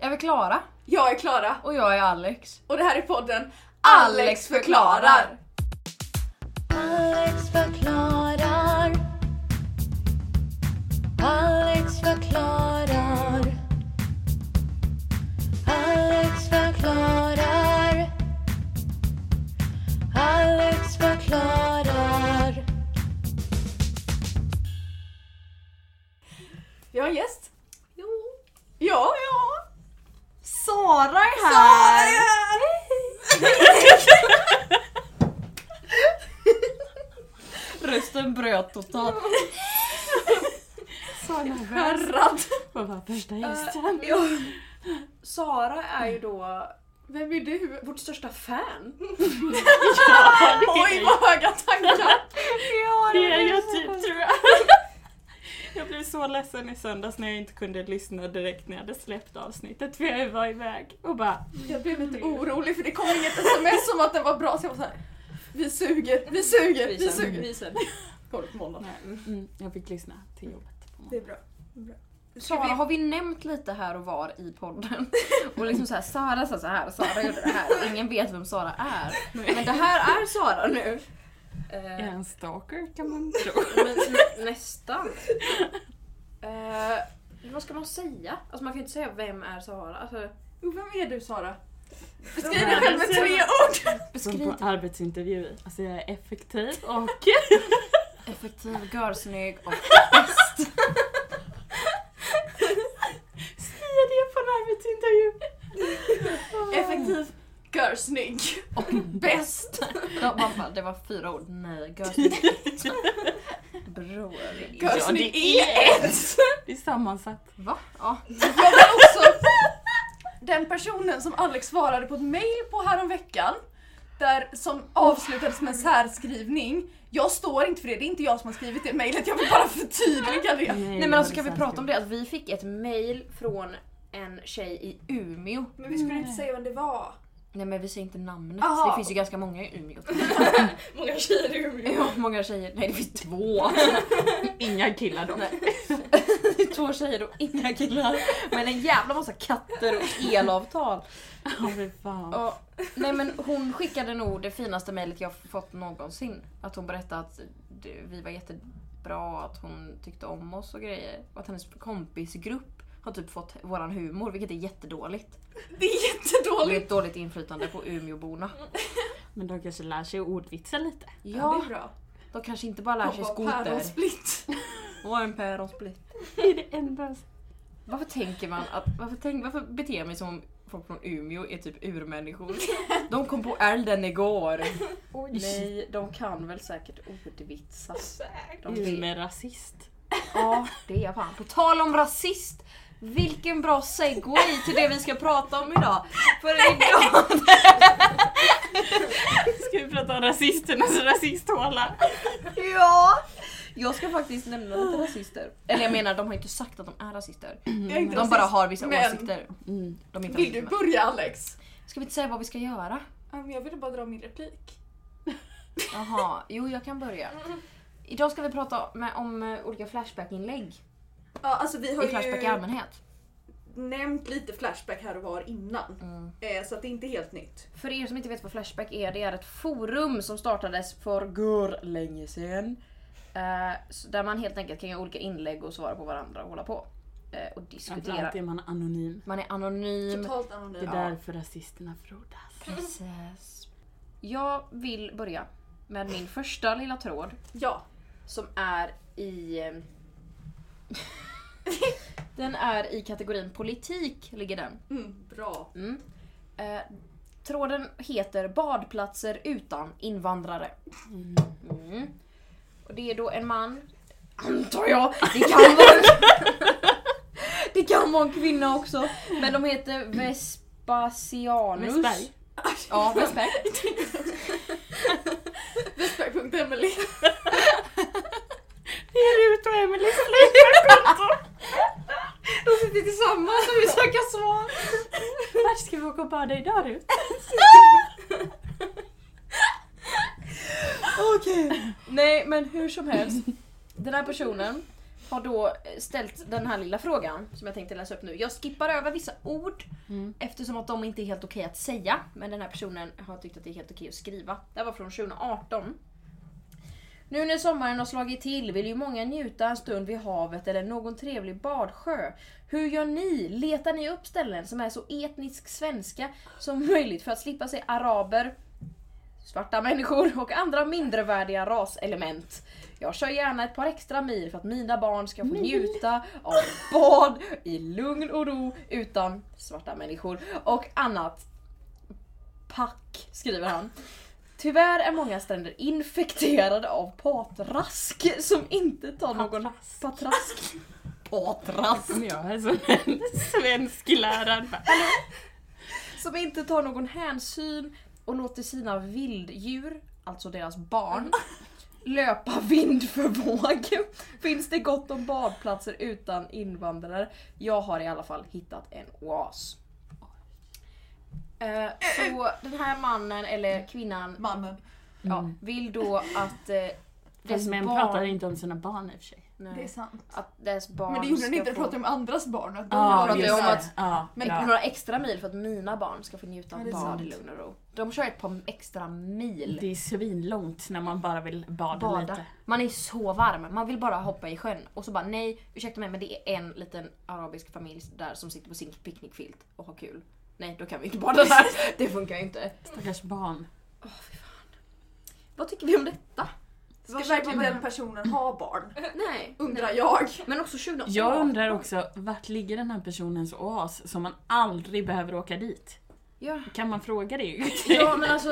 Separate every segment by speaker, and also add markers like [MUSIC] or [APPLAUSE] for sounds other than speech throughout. Speaker 1: är Klara.
Speaker 2: Jag är Klara
Speaker 1: Och jag är Alex.
Speaker 2: och det här är podden
Speaker 1: Alex
Speaker 2: Alex förklarar.
Speaker 3: Alex förklarar. Alex förklarar. Alex förklarar. Alex förklarar.
Speaker 2: Vi har en gäst. Jo. Ja. ja.
Speaker 1: Sara är Rösten bröt totalt.
Speaker 2: Skärrad.
Speaker 1: Eh,
Speaker 4: Sara är ju då
Speaker 2: Vem är du?
Speaker 4: vårt största fan.
Speaker 2: [LAUGHS] Oj vad höga tankar.
Speaker 5: Det är jag typ tror jag. [LAUGHS] Jag blev så ledsen i söndags när jag inte kunde lyssna direkt när jag hade släppt avsnittet för jag var iväg och bara
Speaker 2: Jag blev lite orolig för det kom inget sms om att den var bra så jag var såhär. Vi suger, vi suger, vi suger. Kollar på måndag.
Speaker 5: nej, mm, jag fick lyssna till jobbet. på morgonen.
Speaker 2: Det är bra.
Speaker 1: Sara har vi nämnt lite här och var i podden. Och liksom såhär, Sara sa så här, Sara gjorde det här. Ingen vet vem Sara är. Men det här är Sara nu.
Speaker 5: Är jag
Speaker 4: Eh,
Speaker 5: en stalker kan man
Speaker 1: [LAUGHS]
Speaker 5: tro.
Speaker 4: men,
Speaker 5: [LAUGHS]
Speaker 4: nä- nästan. Eh, vad ska man säga? Alltså man kan ju inte säga vem är Sara. Alltså,
Speaker 2: Jo, vem är du Sara? Beskriv dig själv med
Speaker 5: [LAUGHS]
Speaker 2: tre ord.
Speaker 5: Som
Speaker 1: Beskriv
Speaker 5: på arbetsintervju. Alltså jag är effektiv och [LAUGHS]
Speaker 1: effektiv, görsnygg och
Speaker 5: säger det på en arbetsintervju.
Speaker 2: Effektiv, görsnygg.
Speaker 1: bäst. Ja, man bara, det var fyra ord. Nej, [LAUGHS] görsnygg. Bror.
Speaker 2: Görsnygg
Speaker 5: det
Speaker 2: är ett.
Speaker 5: Det är sammansatt.
Speaker 1: Va? Ja.
Speaker 2: Jag var också den personen som Alex svarade på ett mail på häromveckan. Där som avslutades med en särskrivning. Jag står inte för det, det är inte jag som har skrivit det mejlet. Jag vill bara förtydliga det.
Speaker 1: Nej men alltså kan vi prata om det att vi fick ett mail från en tjej i Umeå.
Speaker 2: Men vi skulle inte säga vem det var.
Speaker 1: Nej men vi säger inte namnet,
Speaker 2: Aha.
Speaker 1: det finns ju ganska många i Umeå.
Speaker 4: många tjejer i Umeå.
Speaker 1: [LAUGHS] Ja, många tjejer. Nej det finns [LAUGHS] två.
Speaker 5: Inga killar dock.
Speaker 1: två tjejer och inga killar. Men en jävla massa katter och elavtal.
Speaker 5: [LAUGHS] Ja, fy fan.
Speaker 1: Ja, nej men hon skickade nog det finaste mejlet jag fått någonsin. Att hon berättade att det- vi var jättebra, att hon tyckte om oss och grejer. Och att hennes kompisgrupp har typ fått våran humor, vilket är jättedåligt.
Speaker 2: Det är
Speaker 1: Det är
Speaker 2: jättedåligt.
Speaker 1: ett dåligt inflytande på Umeåborna.
Speaker 5: Men de kanske lär sig ordvitsa lite.
Speaker 1: Ja,
Speaker 2: det är bra.
Speaker 1: de kanske inte bara lär sig skoter.
Speaker 2: Päronsplitt.
Speaker 1: Och en päronsplitt.
Speaker 5: Det är det enda
Speaker 1: Varför tänker man att, varför, tänk, varför beter jag mig som om folk från Umeå är typ [LAUGHS] urmänniskor? De kom på elden igår. Nej, de kan väl säkert ordvitsas. De vet-
Speaker 5: Ume rasist. [LAUGHS]
Speaker 1: Ja, det är jag fan. På tal om rasist. Vilken bra segway till det vi ska prata om idag. För [LAUGHS] idag...
Speaker 5: Ska vi prata om rasisternas [LAUGHS] rasisthåla?
Speaker 1: Ja! Jag ska faktiskt nämna lite rasister. Eller jag menar, de har inte sagt att de är rasister.
Speaker 2: Jag är inte
Speaker 1: De bara har vissa
Speaker 2: men-
Speaker 1: åsikter.
Speaker 5: Mm.
Speaker 1: De är inte
Speaker 2: Vill du
Speaker 1: rasister.
Speaker 2: börja Alex?
Speaker 1: Ska vi inte säga vad vi ska göra?
Speaker 2: Ja, men Um, Jag ville bara dra min replik.
Speaker 1: Jaha, jo jag kan börja. Idag ska vi prata med, om eh, olika Flashback-inlägg
Speaker 2: Ja, alltså vi
Speaker 1: i Flashback i allmänhet.
Speaker 2: nämnt lite Flashback här och var innan. Eh, så att det är inte helt nytt.
Speaker 1: För er som inte vet vad Flashback är, det är ett forum som startades för gör länge sedan. Eh, så där man helt enkelt kan göra olika inlägg och svara på varandra och hålla på. Eh, och diskutera.
Speaker 5: Framförallt är man anonym.
Speaker 1: Man är anonym.
Speaker 2: Totalt
Speaker 5: Det är
Speaker 2: anonymt.
Speaker 5: därför rasisterna frodas.
Speaker 1: Precis. Jag vill börja med min första lilla tråd
Speaker 2: Ja.
Speaker 1: som är i... eh, [LAUGHS] den är i kategorin politik, ligger den.
Speaker 2: Mm, bra. [LAUGHS]
Speaker 1: Mm. Eh, tråden heter badplatser utan invandrare. Mm. Och det är då en man, antar jag, det kan vara en, [LAUGHS] det kan vara en kvinna också. Men de heter Vespasianus.
Speaker 5: Westberg.
Speaker 1: Ja, Vestberg.
Speaker 2: Flashback.emily.
Speaker 5: Det är Rut och Emelies Flashback-konto!
Speaker 1: De sitter tillsammans och vill söka svar.
Speaker 5: [LAUGHS] Vart ska vi åka och bada idag Rut?
Speaker 1: Nej men hur som helst. Den här personen har då ställt den här lilla frågan som jag tänkte läsa upp nu. Jag skippar över vissa ord
Speaker 5: Mm.
Speaker 1: eftersom att de inte är helt okej att säga. Men den här personen har tyckt att det är helt okej att skriva. Det här var från 2018. Nu när sommaren har slagit till vill ju många njuta en stund vid havet eller någon trevlig badsjö. Hur gör ni? Letar ni upp ställen som är så etnisk svenska som möjligt för att slippa se araber, svarta människor och andra mindrevärdiga raselement? Jag kör gärna ett par extra mil för att mina barn ska få njuta av bad i lugn och ro utan svarta människor och annat. Pack, skriver han. Tyvärr är många stränder infekterade av patrask som inte tar någon... Patrask? Patrask!
Speaker 5: Som jag är som en svensklärare. Bara,
Speaker 1: Som inte tar någon hänsyn och låter sina vilddjur, alltså deras [LAUGHS] barn, löpa vind för våg. [LAUGHS] Finns det gott om badplatser utan invandrare? Jag har i alla fall hittat en oas. Eh, Så den här mannen eller kvinnan
Speaker 2: Mannen.
Speaker 1: ja, vill då att eh,
Speaker 5: Fast
Speaker 1: dess
Speaker 5: män pratar
Speaker 1: barn,
Speaker 5: inte om sina barn i och för sig.
Speaker 2: Det är
Speaker 1: nej,
Speaker 2: sant.
Speaker 1: att dess barn
Speaker 2: Men det gjorde
Speaker 1: ska
Speaker 2: den inte, den
Speaker 1: få
Speaker 2: pratade om andras barn. och Att de
Speaker 5: Ja,
Speaker 2: pratade
Speaker 1: just
Speaker 2: om
Speaker 1: det.
Speaker 2: att
Speaker 5: Ja,
Speaker 1: men
Speaker 5: ja.
Speaker 1: några extra mil för att mina barn ska få njuta
Speaker 2: Ja,
Speaker 1: av
Speaker 2: det är
Speaker 1: bad
Speaker 2: sant.
Speaker 1: i lugn och ro. De kör ett par extra mil.
Speaker 5: Det är svinlångt när man bara vill bada,
Speaker 1: bada.
Speaker 5: lite.
Speaker 1: Man är så varm, man vill bara hoppa i sjön. Och så bara nej, ursäkta mig men det är en liten arabisk familj där som sitter på sin picknickfilt och har kul. Nej, då kan vi inte bada där. [LAUGHS] Det funkar ju inte.
Speaker 5: Stackars barn.
Speaker 1: Vad tycker vi om detta?
Speaker 2: Ska verkligen den personen ha barn?
Speaker 1: Nej.
Speaker 2: Undrar jag.
Speaker 1: Eh, Men också 2018.
Speaker 5: Jag undrar också, vart ligger den här personens oas som man aldrig behöver åka dit?
Speaker 1: Ja.
Speaker 5: Kan man fråga det?
Speaker 1: [LAUGHS] ja men alltså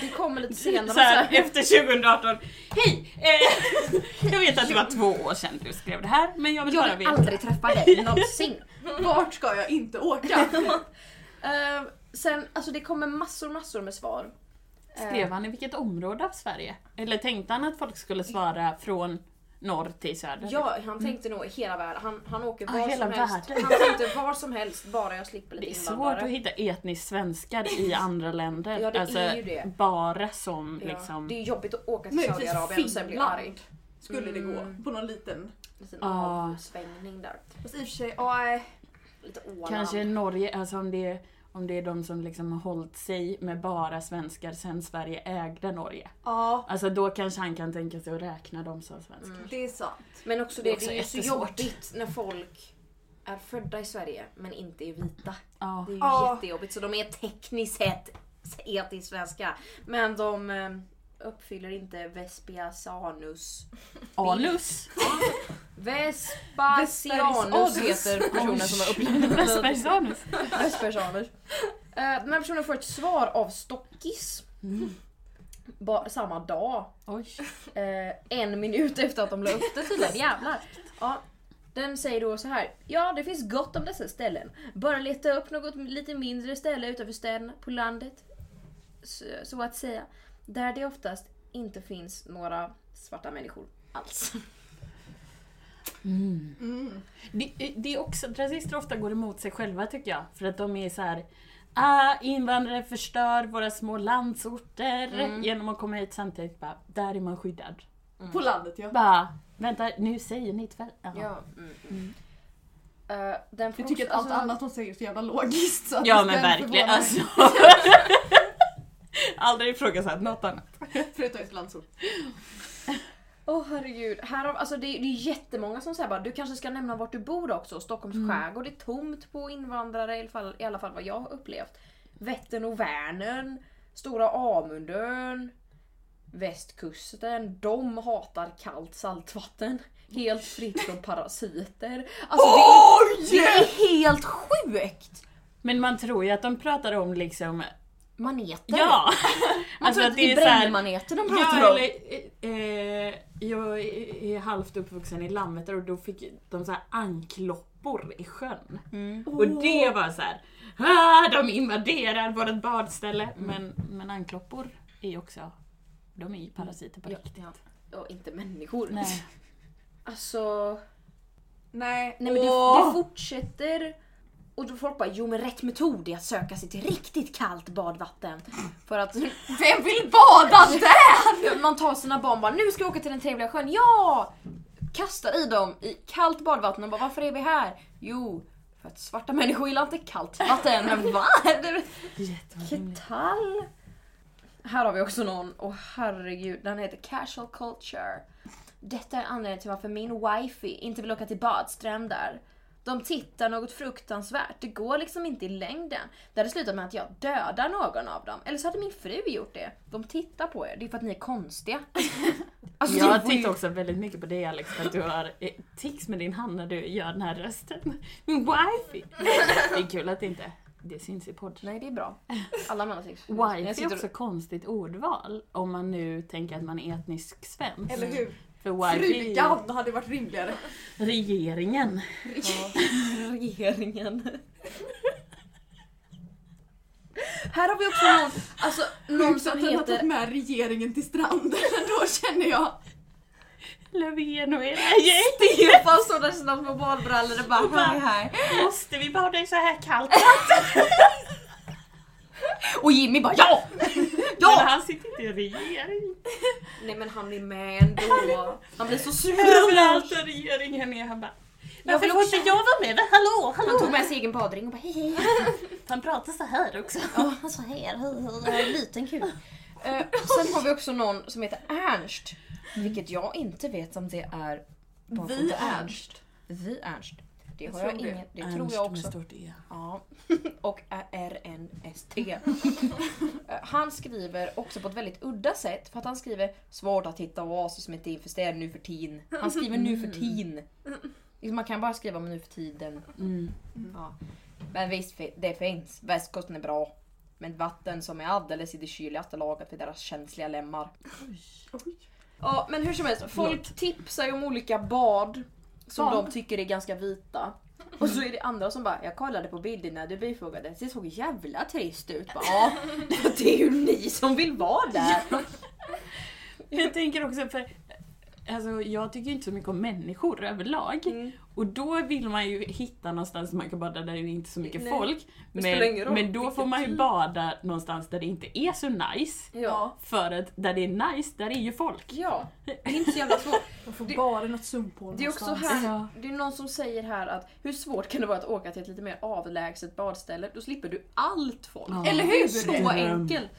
Speaker 1: det kommer lite senare. alltså.
Speaker 5: så här, efter 2018. Hej!
Speaker 1: [LAUGHS]
Speaker 5: Eh, jag vet att det var två år sedan du skrev det här, men jag vill bara
Speaker 1: jag vill
Speaker 5: veta.
Speaker 1: aldrig träffa
Speaker 5: [LAUGHS]
Speaker 1: dig någonsin.
Speaker 2: Vart ska jag inte åka?
Speaker 1: Eh, sen, alltså det kommer massor massor med svar. Eh,
Speaker 5: Skrev han i vilket område av Sverige? Eller tänkte han att folk skulle svara från norr till söder?
Speaker 1: Ja, han tänkte nog hela världen. Han, han åker
Speaker 5: Ah,
Speaker 1: var
Speaker 5: Mm. hela
Speaker 1: som helst.
Speaker 5: världen.
Speaker 1: Han tänkte var som helst bara jag slipper lite
Speaker 5: Det är svårt att hitta etniskt
Speaker 1: [LAUGHS]
Speaker 5: svenskar i andra länder.
Speaker 1: Ja, det är
Speaker 5: alltså,
Speaker 1: ju det.
Speaker 5: bara som
Speaker 1: Ja,
Speaker 5: liksom...
Speaker 1: Det är jobbigt att åka till
Speaker 2: Möjligtvis
Speaker 1: Saudiarabien och sen bli arg. Mm.
Speaker 2: Finland. Skulle det gå. På någon liten...
Speaker 1: Liten
Speaker 5: Ja.
Speaker 1: avsvängning där.
Speaker 2: Fast i och för sig, nej.
Speaker 1: Lite Åland.
Speaker 5: Kanske Norge, alltså om det, är, om det är de som liksom har hållit sig med bara svenskar sen Sverige ägde Norge.
Speaker 2: Ja,
Speaker 5: Alltså då kanske han kan tänka sig att räkna dem som
Speaker 1: Mm.
Speaker 5: svenskar.
Speaker 2: det är sant.
Speaker 1: Men också det,
Speaker 5: också
Speaker 1: det är ju så
Speaker 5: jättesvårt.
Speaker 1: jobbigt när folk är födda i Sverige men inte är vita.
Speaker 5: Ja.
Speaker 1: Det är ju
Speaker 2: Ja.
Speaker 1: jättejobbigt så de är tekniskt sett etiskt svenska. Men de eh, uppfyller inte Vespiasanus.
Speaker 5: Anus!
Speaker 1: Vespasianus
Speaker 2: Vesperis-
Speaker 1: heter personen som har
Speaker 5: Västbergs
Speaker 1: upplevt
Speaker 5: anus.
Speaker 1: Vespasianus. Eh, Den här personen får ett svar av Stockis. Ba- samma dag.
Speaker 5: Mm. Oj.
Speaker 1: Eh, en minut efter att de la upp det tydligen. Jävlar. Ja. Den säger då så här. Ja, det finns gott om dessa ställen. Bara leta upp något lite mindre ställe utanför städerna, på landet. Så, så att säga. Där det oftast inte finns några svarta människor alls.
Speaker 5: Det, det är också att rasister ofta går emot sig själva tycker jag. För att de är så här. Ah, invandrare förstör våra små landsorter
Speaker 1: Mm.
Speaker 5: genom att komma hit samtidigt bara, där är man skyddad.
Speaker 2: Mm. På landet ja.
Speaker 5: Bara, vänta nu säger ni tvärtom. Ja.
Speaker 1: Mm. Eh, den får
Speaker 2: Jag tycker att
Speaker 1: också-
Speaker 2: allt
Speaker 1: alltså-
Speaker 2: annat hon säger är så jävla logiskt. Så att
Speaker 5: ja
Speaker 2: den
Speaker 5: men
Speaker 2: förvånar
Speaker 5: verkligen
Speaker 1: [LAUGHS]
Speaker 2: mig.
Speaker 5: alltså. Aldrig ifrågasatt något annat.
Speaker 2: Förutom just landsort.
Speaker 1: Åh herregud. Här har, alltså det, är- det är jättemånga som säger bara du kanske ska nämna vart du bor också. Stockholms skärgård är tomt på invandrare i alla fall, i alla fall vad jag har upplevt. Vättern och Vänern, Stora Amundön, Västkusten. De hatar kallt saltvatten. Helt fritt från parasiter. Alltså det är, det är helt sjukt!
Speaker 5: Men man tror ju att de pratar om liksom,
Speaker 1: Maneter.
Speaker 5: ja! Alltså,
Speaker 1: Man tror alltså att det är
Speaker 5: så här-
Speaker 1: brännmaneter de pratar
Speaker 5: Ja,
Speaker 1: om.
Speaker 5: eller, eh, eh, jag är- är halvt uppvuxen i Landvetter och då fick de så här ankloppor i sjön. Och det var så här. Ah, de invaderar vårt badställe. Men, men ankloppor är ju också, de är ju parasiter på
Speaker 1: Ja,
Speaker 5: riktigt.
Speaker 1: ja. Och inte människor. [LAUGHS]
Speaker 5: Nej.
Speaker 1: Alltså...
Speaker 2: Nej,
Speaker 1: Nej men
Speaker 2: åh.
Speaker 1: det, det fortsätter. Och då folk bara, jo men rätt metod är att söka sig till riktigt kallt badvatten. För [LAUGHS] att
Speaker 2: Vem vill bada där?
Speaker 1: man tar sina barn och bara, nu ska jag åka till den trevliga sjön. Ja! kastar i dem i kallt badvatten och bara varför är vi här? Jo, för att svarta människor gillar inte kallt [LAUGHS] vatten. Va?
Speaker 5: Jätteorimligt.
Speaker 1: Ketall? Här har vi också någon, och herregud, den heter Casual Culture. Detta är anledningen till varför min wifey inte vill åka till badstränder. De tittar något fruktansvärt, det går liksom inte i längden. Det hade slutat med att jag dödar någon av dem, eller så hade min fru gjort det. De tittar på er, det är för att ni är
Speaker 5: [LAUGHS]
Speaker 1: konstiga. Alltså, det
Speaker 5: Jag
Speaker 1: var ju-
Speaker 5: tittar också väldigt mycket på dig Alex för att du har eh, tics med din hand när du gör den här rösten. Min wifi! Det är kul att det inte det syns i podd.
Speaker 1: Nej det är bra. Alla män har sex. Jag
Speaker 5: Wifi är
Speaker 1: sitter-
Speaker 5: också konstigt ordval om man nu tänker att man är etnisk svensk.
Speaker 2: Eller hur?
Speaker 5: För wifi är ju
Speaker 2: Frugan hade varit rimligare.
Speaker 5: regeringen.
Speaker 1: regeringen. Här har vi också någon, alltså, någon
Speaker 2: Sjukt
Speaker 1: som
Speaker 2: att den har tagit
Speaker 1: heter...
Speaker 2: med regeringen till stranden [LAUGHS] då känner jag.
Speaker 5: Löfven och era gäng. [LAUGHS]
Speaker 1: Stefan står där i sina små badbrallor och bara hej hej.
Speaker 5: Måste vi bada i så här kallt?
Speaker 1: Och Jimmy bara ja!
Speaker 5: Men
Speaker 1: Ja!
Speaker 5: han sitter inte i regering.
Speaker 4: Nej men han är med ändå.
Speaker 1: Han blir så sur.
Speaker 5: Överallt där regeringen är han bara
Speaker 1: Jag
Speaker 5: Varför
Speaker 1: vill
Speaker 5: får
Speaker 1: också-
Speaker 5: inte jag vara med? Hallå,
Speaker 1: Han tog
Speaker 5: hallå!
Speaker 1: med sig egen badring och bara hej hej.
Speaker 5: Han pratar så här också.
Speaker 1: Ja, han sa hej hej hej, jag har en liten kul. Eh, sen har vi också någon som heter Ernst. Vilket jag inte vet om det är... vad
Speaker 2: Vi
Speaker 1: heter
Speaker 2: Ernst.
Speaker 1: Vi Ernst. Det
Speaker 2: Jag
Speaker 1: har jag
Speaker 2: tror det.
Speaker 1: ingen... Det tror jag också.
Speaker 5: Stort e.
Speaker 1: Ja, och RNST. han skriver också på ett väldigt udda sätt för att han skriver svårt att hitta oaser som inte är infesterade nu för tiden. Han skriver nu för tiden. Liksom, Man kan bara skriva om nu för tiden.
Speaker 5: Mm.
Speaker 1: Ja. Men visst, fi- det finns. Västkusten är bra. Men vatten som är alldeles i det kyligaste laget för deras känsliga lemmar. Ja, men hur som helst, folk tipsar ju om olika bad som
Speaker 2: Bad?
Speaker 1: de tycker är ganska vita. Och så är det andra som bara, jag kollade på bilderna du bifogade, det såg jävla trist ut. Bara, ja, det är ju ni som vill vara där.
Speaker 5: Jag tänker också för Alltså, jag tycker ju inte så mycket om människor överlag. Och då vill man ju hitta någonstans man kan bada där det är inte är så mycket
Speaker 4: Nej.
Speaker 5: folk.
Speaker 4: Det spelar ingen roll typ.
Speaker 5: men då
Speaker 4: vilken
Speaker 5: får man ju
Speaker 4: tid.
Speaker 5: bada någonstans där det inte är så nice.
Speaker 4: Ja.
Speaker 5: För att där det är nice, där är ju folk.
Speaker 1: Ja, det är inte så jävla svårt.
Speaker 2: Man får
Speaker 1: Det-
Speaker 2: bara något sumphål
Speaker 1: Det är också
Speaker 2: någonstans.
Speaker 1: här,
Speaker 5: Ja.
Speaker 1: det är någon som säger här att hur svårt kan det vara att åka till ett lite mer avlägset badställe? Då slipper du allt folk.
Speaker 5: Ja.
Speaker 2: Eller hur?
Speaker 1: Så
Speaker 5: Mm.
Speaker 1: enkelt.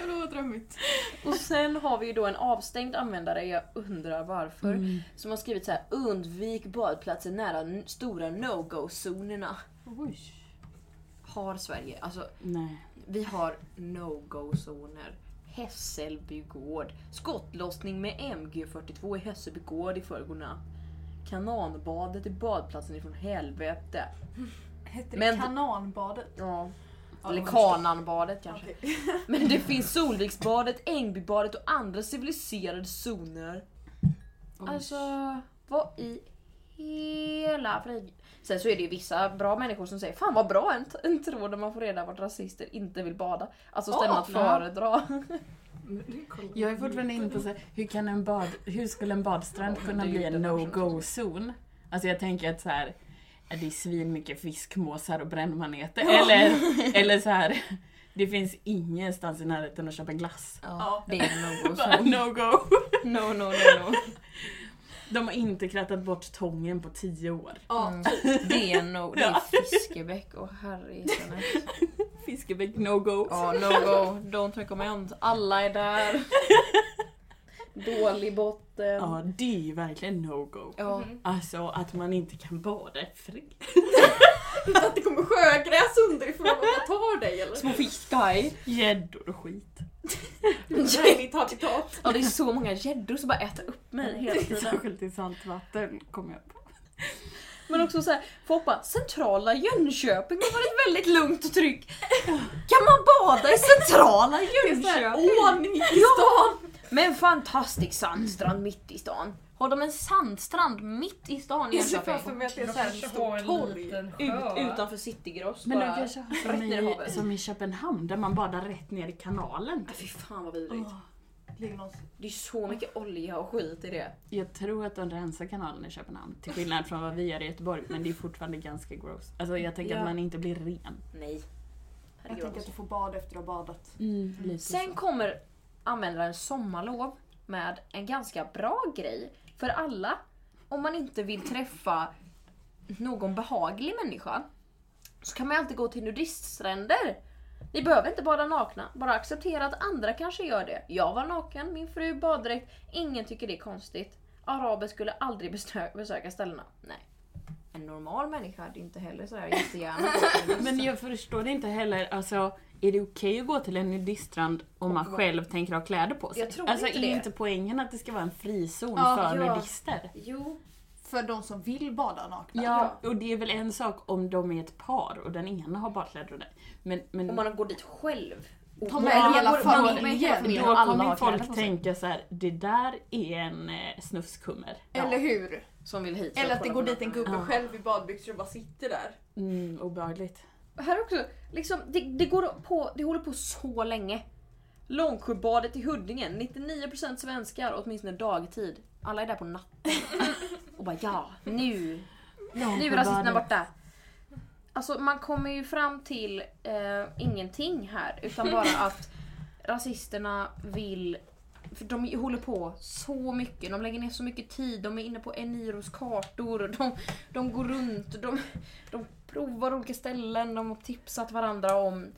Speaker 2: Jävlar vad drömmigt.
Speaker 1: Och sen har vi ju då en avstängd användare, jag undrar varför,
Speaker 5: Mm.
Speaker 1: som har skrivit så här undvik badplatser nära n- stora no-go-zonerna.
Speaker 5: Oj.
Speaker 1: Har Sverige, alltså
Speaker 5: Nej.
Speaker 1: vi har no-go-zoner. Hässelby gård. Skottlossning med MG42 i Hässelby gård i förrgår natt. Kananbadet i badplatsen ifrån helvete.
Speaker 2: Hette
Speaker 1: Men-
Speaker 2: det kananbadet?
Speaker 1: Ja.
Speaker 2: Ja,
Speaker 1: Eller
Speaker 2: jag förstår.
Speaker 1: Kananbadet kanske.
Speaker 2: Okej.
Speaker 1: Men det finns Solviksbadet, Ängbybadet och andra civiliserade zoner.
Speaker 5: Oj.
Speaker 1: Alltså, vad i hela frid... Sen så är det ju vissa bra människor som säger Fan vad bra en, en tråd där man får reda vart rasister inte vill bada. Alltså ställen
Speaker 2: Åh,
Speaker 1: att
Speaker 5: ja.
Speaker 1: föredra. [LAUGHS]
Speaker 5: Jag är fortfarande inne på så här, hur, kan en bad, hur skulle en badstrand kunna
Speaker 1: det är
Speaker 5: bli
Speaker 1: ju
Speaker 5: en
Speaker 1: inte
Speaker 5: no-go-zon? Alltså jag tänker att så här, ja, det är svin mycket fiskmåsar och brännmaneter. [LAUGHS] Eller, eller så här, det finns ingenstans i närheten att köpa glass.
Speaker 2: Ja.
Speaker 1: Det är [LAUGHS] en no-go
Speaker 5: Bara,
Speaker 1: zone.
Speaker 5: No-go!
Speaker 1: No, no, no, no.
Speaker 5: De har inte krattat bort tången på tio år.
Speaker 2: Ja.
Speaker 1: Mm. Det är en no... Det är Fiskebäck och herre
Speaker 5: Fiskebäck no-go.
Speaker 1: Ja, no go, don't recommend. Alla är där. Dålig botten.
Speaker 5: Ja, det är ju verkligen no-go.
Speaker 1: Ja.
Speaker 5: Alltså att man inte kan bada i fred.
Speaker 2: typ
Speaker 4: Att det kommer sjögräs underifrån och bara tar dig eller?
Speaker 1: Små fiskar.
Speaker 5: Gäddor och skit.
Speaker 4: Härligt habitat.
Speaker 1: [LAUGHS] Ja, det är så många gäddor som bara äter upp mig hela tiden.
Speaker 5: [LAUGHS] Särskilt i saltvatten kom jag på.
Speaker 1: Men också så här, folk bara, centrala Jönköping har varit väldigt lugnt och tryggt. Kan man bada i centrala Jönköping?
Speaker 4: Ordning i
Speaker 1: Ja! Med en fantastisk sandstrand mitt i stan. Har de en sandstrand mitt i stan i
Speaker 4: Jag ser framför
Speaker 1: Jönköping?
Speaker 4: mig att det är såhär en stor torg.
Speaker 1: Ut, utanför citygross
Speaker 5: Men de
Speaker 1: bara.
Speaker 5: kanske har
Speaker 1: rätt
Speaker 5: som
Speaker 1: ner i
Speaker 5: i,
Speaker 1: havet.
Speaker 5: som i Köpenhamn där man badar rätt ner i kanalen.
Speaker 1: Ah, Fy fan vad vidrigt.
Speaker 2: Åh, ligger någonstans.
Speaker 1: Det är så mycket olja och skit i det.
Speaker 5: Jag tror att de rensar kanalen i Köpenhamn till skillnad från vad vi gör i Göteborg men det är fortfarande ganska gross. Alltså jag tänker
Speaker 1: Ja.
Speaker 5: att man inte blir ren.
Speaker 1: Nej.
Speaker 2: Jag tänker att du får bad efter att du har badat.
Speaker 5: Lite
Speaker 1: Mm. Sen
Speaker 5: så.
Speaker 1: kommer användaren sommarlov med en ganska bra grej för alla. Om man inte vill träffa någon behaglig människa så kan man ju alltid gå till nudiststränder. Ni behöver inte bada nakna, bara acceptera att andra kanske gör det. Jag var naken, min fru baddräkt, ingen tycker det är konstigt. Araber skulle aldrig besö- besöka ställena. Nej. En normal människa hade inte heller sådär jättegärna
Speaker 5: Men
Speaker 1: Alltså.
Speaker 5: jag förstår inte heller, alltså är det okej att gå till en nudiststrand om man själv tänker ha kläder på sig?
Speaker 1: Jag tror
Speaker 5: alltså
Speaker 1: inte
Speaker 5: är
Speaker 1: det.
Speaker 5: inte poängen att det ska vara en frizon
Speaker 2: Ja,
Speaker 5: för
Speaker 4: ja.
Speaker 5: nudister?
Speaker 4: Jo.
Speaker 2: För de som vill bada nakna.
Speaker 5: Ja, och det är väl en sak om de är ett par och den ena har badkläder och den men, men
Speaker 1: Om man går dit själv.
Speaker 2: Ta med hela familjen.
Speaker 5: då kommer ju folk tänka så här: det där är en eh, snufskummer.
Speaker 2: Eller hur?
Speaker 1: Som vill hit.
Speaker 2: Eller att det går dit en gubbe
Speaker 5: Ja.
Speaker 2: själv i badbyxor och bara sitter där.
Speaker 5: Mm, obehagligt.
Speaker 1: Här också, liksom, det, det, går på, det håller på så länge. Långsjöbadet i Huddinge, 99% svenskar åtminstone dagtid. Alla är där på [LAUGHS] natten. Och bara ja, nu, nu är rasisterna borta. Alltså man kommer ju fram till eh, ingenting här utan bara
Speaker 2: [LAUGHS]
Speaker 1: att rasisterna vill för de håller på så mycket, de lägger ner så mycket tid, de är inne på Eniros kartor, och de, de går runt, de, de provar olika ställen, de har tipsat varandra om...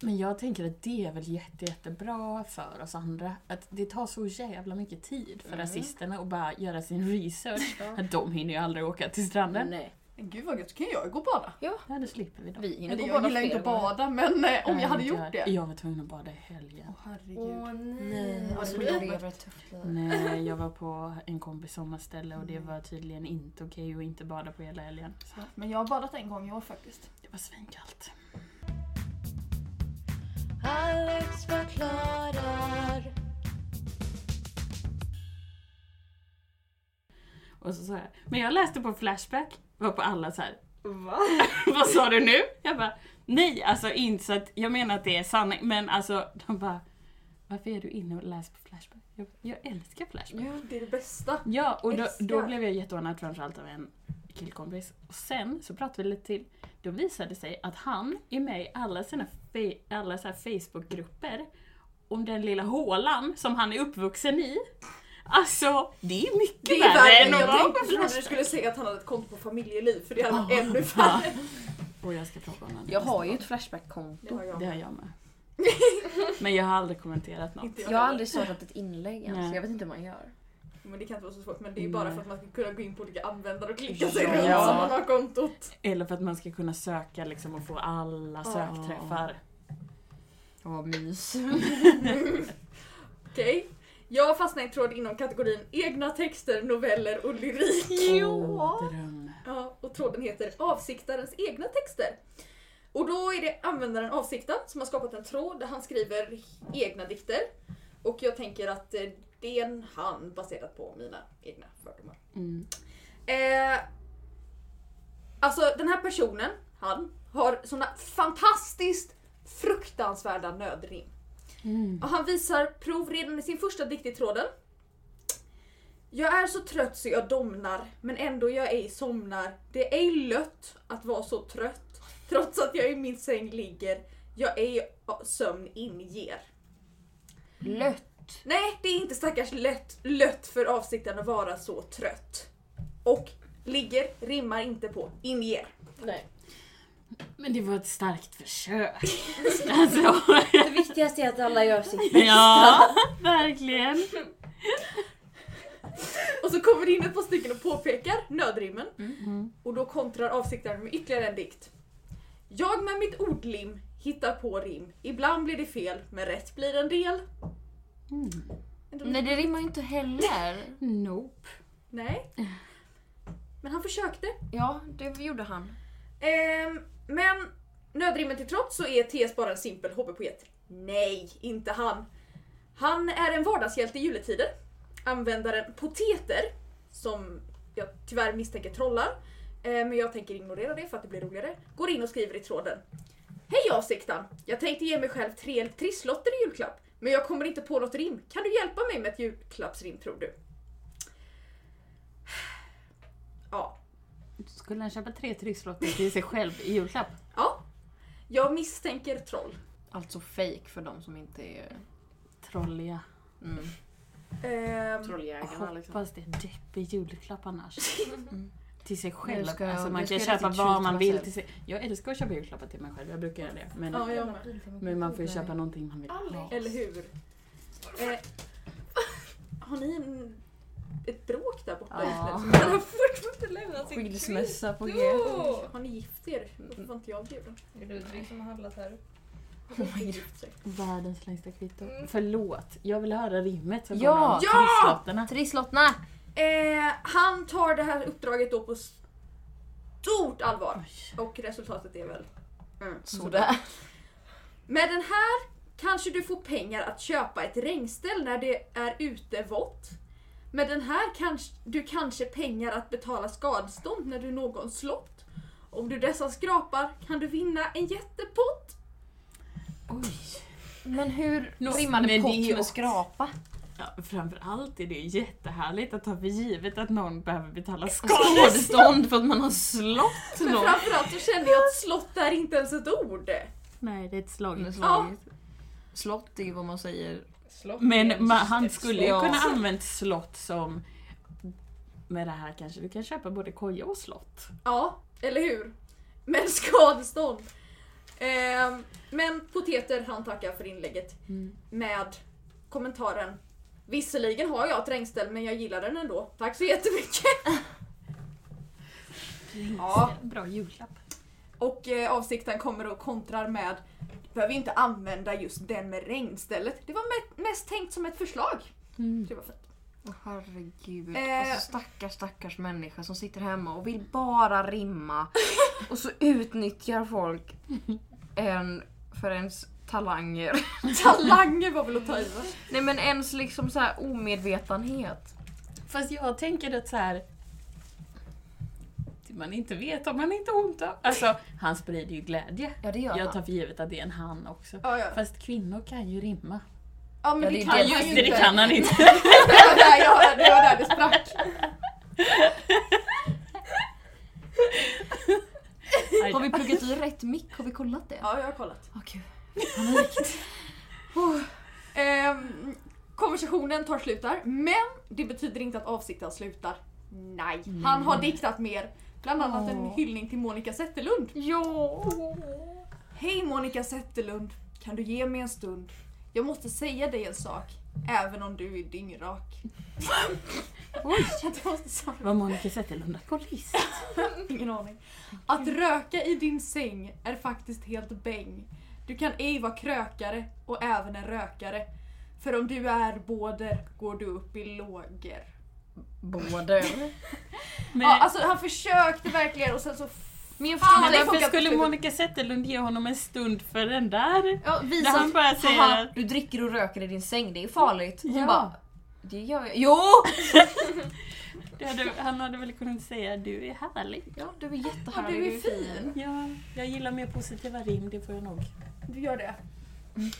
Speaker 5: Men jag tänker att det är väl jätte, jättebra för oss andra. Att det tar så jävla mycket tid
Speaker 2: Mm.
Speaker 5: för rasisterna att bara göra sin research. Att de hinner ju aldrig åka till stranden.
Speaker 1: Nej.
Speaker 2: Men Gud vad gött, så kan jag gå och bada.
Speaker 5: Ja, då slipper vi dem.
Speaker 1: Vi hinner
Speaker 2: Eller
Speaker 1: gå
Speaker 2: jag
Speaker 1: båda
Speaker 2: gillar ju inte att
Speaker 1: gånger.
Speaker 2: bada men eh, om jag hade gjort det.
Speaker 5: Jag var tvungen att bada i helgen.
Speaker 2: Åh herregud.
Speaker 4: Åh nej.
Speaker 2: Ja, det
Speaker 1: Alltså,
Speaker 2: blir
Speaker 1: du
Speaker 2: jobbigt.
Speaker 1: lever ett tufft liv.
Speaker 5: Nej, jag var på en kompis sommarställe och
Speaker 2: Mm.
Speaker 5: det var tydligen inte okej att inte bada på hela helgen. Så
Speaker 2: Men jag har badat en gång i år faktiskt.
Speaker 5: det var svinkallt.
Speaker 3: Alex förklarar.
Speaker 5: Och så sa jag, men jag läste på Flashback, var på alla så här.
Speaker 4: Va?
Speaker 5: [LAUGHS] Vad sa du nu? Jag bara, nej alltså inte så att jag menar att det är sanning, men alltså de bara, varför är du inne och läser på Flashback? Jag, bara, jag älskar Flashback.
Speaker 2: Det är det bästa.
Speaker 5: Ja, och då, då
Speaker 2: Älskar.
Speaker 5: blev jag jätteordnad framförallt av en killkompis. Och sen så pratade vi lite till. Då visade det sig att han är med i alla sina fe- alla så här Facebookgrupper om den lilla hålan som han är uppvuxen i. Alltså, det är mycket
Speaker 2: Det är
Speaker 5: värre
Speaker 2: värre.
Speaker 5: än att
Speaker 2: Jag
Speaker 5: vara på
Speaker 2: tänkte att du
Speaker 5: Flashback.
Speaker 2: skulle säga att han hade ett konto på familjeliv för det hade varit ännu
Speaker 5: Ja.
Speaker 2: värre.
Speaker 5: Och jag ska plocka honom.
Speaker 1: Jag har ju ett Flashback-konto.
Speaker 2: Det har
Speaker 5: Det
Speaker 2: jag.
Speaker 5: har jag [LAUGHS] med. Men jag har aldrig kommenterat något.
Speaker 2: Inte jag,
Speaker 1: Jag har
Speaker 2: heller.
Speaker 5: [LAUGHS]
Speaker 1: aldrig startat ett inlägg ens,
Speaker 5: Nej.
Speaker 1: jag vet inte hur man gör.
Speaker 2: Men det kan inte vara så svårt. Men det är ju bara
Speaker 5: Nej.
Speaker 2: för att man ska kunna gå in på olika användare och klicka sig
Speaker 5: Ja.
Speaker 2: runt så man har kontot.
Speaker 5: Eller för att man ska kunna söka liksom och få alla sökträffar. Åh, mys.
Speaker 2: Okej. Jag fastnar i en tråd inom kategorin egna texter, noveller och lyrik.
Speaker 5: Åh, dröm.
Speaker 2: Ja, och tråden heter avsiktarens egna texter. Och då är det användaren avsikten som har skapat en tråd där han skriver egna dikter. Och jag tänker att eh, det är en han baserat på mina egna fördomar.
Speaker 5: Mm.
Speaker 2: Eh, alltså den här personen, han, har såna fantastiskt fruktansvärda nödrim. Och han visar prov redan i sin första dikt i tråden. Jag är så trött så jag domnar, men ändå jag ej somnar. Det är ej lött att vara så trött, trots att jag i min säng ligger. Jag ej sömn inger.
Speaker 1: Lött!
Speaker 2: Nej, det är inte stackars lätt, lött för avsikten att vara så trött. Och ligger rimmar inte på inger.
Speaker 1: Nej.
Speaker 5: Men det var ett starkt försök. [LAUGHS] alltså,
Speaker 1: Det viktigaste är att alla gör sitt
Speaker 5: ja, verkligen.
Speaker 2: Och så kommer det in ett par stycken och påpekar nödrimmen. Och då kontrar avsiktaren med ytterligare en dikt. Jag med mitt ordlim hittar på rim. Ibland blir det fel, men rätt blir en del.
Speaker 1: [LAUGHS] Nej det rimmar ju inte heller.
Speaker 5: Nope.
Speaker 2: Nej. Men han försökte.
Speaker 1: Ja, det gjorde han.
Speaker 2: Ehm, men nödrimmen till trots så är TS bara en simpel hobbypoet. Nej, inte han. Han är en vardagshjälte i juletider. Användaren Poteter, som jag tyvärr misstänker trollar, eh, men jag tänker ignorera det för att det blir roligare, går in och skriver i tråden. Hej avsiktan! Jag tänkte ge mig själv tre trisslotter i julklapp, men jag kommer inte på något rim. Kan du hjälpa mig med ett julklappsrim tror du? [SIGHS] Ja,
Speaker 5: Skulle han köpa tre trisslotter till sig själv i julklapp?
Speaker 2: ja. Jag misstänker troll.
Speaker 1: Alltså fake för de som inte är...
Speaker 5: Trolliga.
Speaker 1: Mm.
Speaker 2: Ehm,
Speaker 4: Trolljägarna liksom.
Speaker 5: Hoppas det är en deppig
Speaker 1: [LAUGHS]
Speaker 5: julklapp annars. Till sig själv.
Speaker 1: Nu ska jag-
Speaker 5: alltså man
Speaker 1: nu ska
Speaker 5: kan
Speaker 1: jag
Speaker 5: köpa
Speaker 1: riktigt
Speaker 5: vad
Speaker 1: tjuta
Speaker 5: man
Speaker 1: mig
Speaker 5: vill
Speaker 1: själv.
Speaker 5: till sig. Jag älskar att köpa julklappar till mig själv, jag brukar göra det. Men,
Speaker 2: ja, jag med.
Speaker 5: men man får ju köpa någonting man vill ha.
Speaker 2: Eller hur? Eh, har ni en, ett bråk där borta
Speaker 1: Ja.
Speaker 2: just nu?
Speaker 4: Han har fortfarande inte lämnat sin
Speaker 1: Skilsmässa på G.
Speaker 4: kvitto!
Speaker 2: Har ni gift er? Varför var inte
Speaker 1: [LAUGHS]
Speaker 2: jag bjuden?
Speaker 4: Det är
Speaker 6: liksom
Speaker 4: Ludvig som har handlat här.
Speaker 1: Oh
Speaker 5: Världens längsta kvitto.
Speaker 4: Mm.
Speaker 5: Förlåt, jag vill höra rimmet som
Speaker 1: Ja!
Speaker 5: kommer om
Speaker 2: Ja!
Speaker 5: trisslotterna.
Speaker 1: Trisslottna!
Speaker 2: Eh, han tar det här uppdraget då på stort allvar. Och resultatet är väl... Mm.
Speaker 1: Sådär.
Speaker 2: Med den här kanske du får pengar att köpa ett regnställ när det är ute vått. Med den här kanske du kanske pengar att betala skadestånd när du någon slått. Om du dessa skrapar kan du vinna en jättepott.
Speaker 5: Oj.
Speaker 1: Men hur
Speaker 5: [LAUGHS] Nå,
Speaker 1: rimmade
Speaker 5: men det är
Speaker 1: pott
Speaker 5: ju
Speaker 1: med
Speaker 5: också-
Speaker 1: skrapa?
Speaker 5: Ja, framförallt är det ju jättehärligt att ta för givet att någon behöver betala skadestånd för att man har [LAUGHS] slått
Speaker 2: Men
Speaker 5: någon.
Speaker 2: framförallt så känner jag att slott är inte ens ett ord.
Speaker 5: Nej, det är ett slag.
Speaker 2: Ja.
Speaker 1: Slott är ju vad man säger.
Speaker 4: Slott.
Speaker 5: Men
Speaker 4: Ett
Speaker 5: ma- han
Speaker 4: ett
Speaker 5: skulle
Speaker 4: slott.
Speaker 5: ju kunna använt slott som... Med det här kanske du kan köpa både koja och slott.
Speaker 2: Ja, eller hur? Men [LAUGHS] skadestånd. Ehm, men Poteter han tackar för inlägget med kommentaren Visserligen har jag ett regnställ men jag gillar den ändå. Tack så jättemycket! Ja.
Speaker 5: Bra julklapp.
Speaker 2: Och eh, avsikten kommer och kontrar med Du behöver ju inte använda just den med regnstället. Det var me- mest tänkt som ett förslag. Det var fint.
Speaker 1: Åh herregud.
Speaker 2: Eh.
Speaker 1: Alltså stackars stackars människa som sitter hemma och vill bara
Speaker 2: [LAUGHS]
Speaker 1: rimma. Och så utnyttjar folk en för ens talanger.
Speaker 2: Talanger var väl att ta i va?
Speaker 1: Nej men ens liksom så här omedvetenhet.
Speaker 5: Fast jag tänker att så här. det Man inte vet om man inte har ont av. Alltså, han sprider ju glädje.
Speaker 1: Ja det gör
Speaker 5: Jag
Speaker 1: jag.
Speaker 5: tar för givet att det är en han också.
Speaker 2: Ja, ja.
Speaker 5: Fast kvinnor kan ju rimma.
Speaker 2: ja men
Speaker 1: Ja,
Speaker 2: det,
Speaker 1: det är
Speaker 2: kan
Speaker 1: det-
Speaker 2: man ju
Speaker 5: Just
Speaker 2: inte.
Speaker 5: det, det
Speaker 2: [LAUGHS]
Speaker 5: kan han inte.
Speaker 2: Det var där, jag, det, var där det sprack.
Speaker 1: Har vi pluggat i rätt mick? Har vi kollat det?
Speaker 2: Ja, jag har kollat.
Speaker 1: Åh gud.
Speaker 2: [LAUGHS] Ehm, konversationen tar slut där, men det betyder inte att avsikten slutar. Nej. Han har diktat mer. Bland annat en hyllning till Monica Zetterlund.
Speaker 1: Ja.
Speaker 2: Hej Monica Zetterlund, kan du ge mig en stund? Jag måste säga dig en sak, även om du är dyngrak. Oj! [LAUGHS] Jag måste säga,
Speaker 5: Var Monica Zetterlund alkoholist?
Speaker 2: ingen aning. Att röka i din säng är faktiskt helt bäng. Du kan ej vara krökare och även en rökare. För om du är båder går du upp i lågor.
Speaker 1: Både.
Speaker 5: Men,
Speaker 2: Ja, alltså han försökte verkligen och sen så...
Speaker 1: Men jag
Speaker 2: Fan,
Speaker 1: förstår
Speaker 5: men
Speaker 2: det
Speaker 1: inte.
Speaker 5: varför
Speaker 2: funkar
Speaker 5: skulle
Speaker 2: absolut.
Speaker 5: Monica Zetterlund ge honom en stund för den där?
Speaker 1: Ja,
Speaker 5: När
Speaker 1: visa
Speaker 5: han bara säger
Speaker 1: Haha,
Speaker 5: att-
Speaker 1: du dricker och röker i din säng, det är farligt. Hon
Speaker 5: Ja.
Speaker 1: bara, det gör jag. Jo!
Speaker 5: Det hade, han hade väl kunnat säga du är härlig.
Speaker 1: Ja, du är
Speaker 2: Ja,
Speaker 1: jättehärlig.
Speaker 2: du är fin.
Speaker 5: Ja, jag gillar mer positiva rim, det får jag nog.
Speaker 2: Du gör det.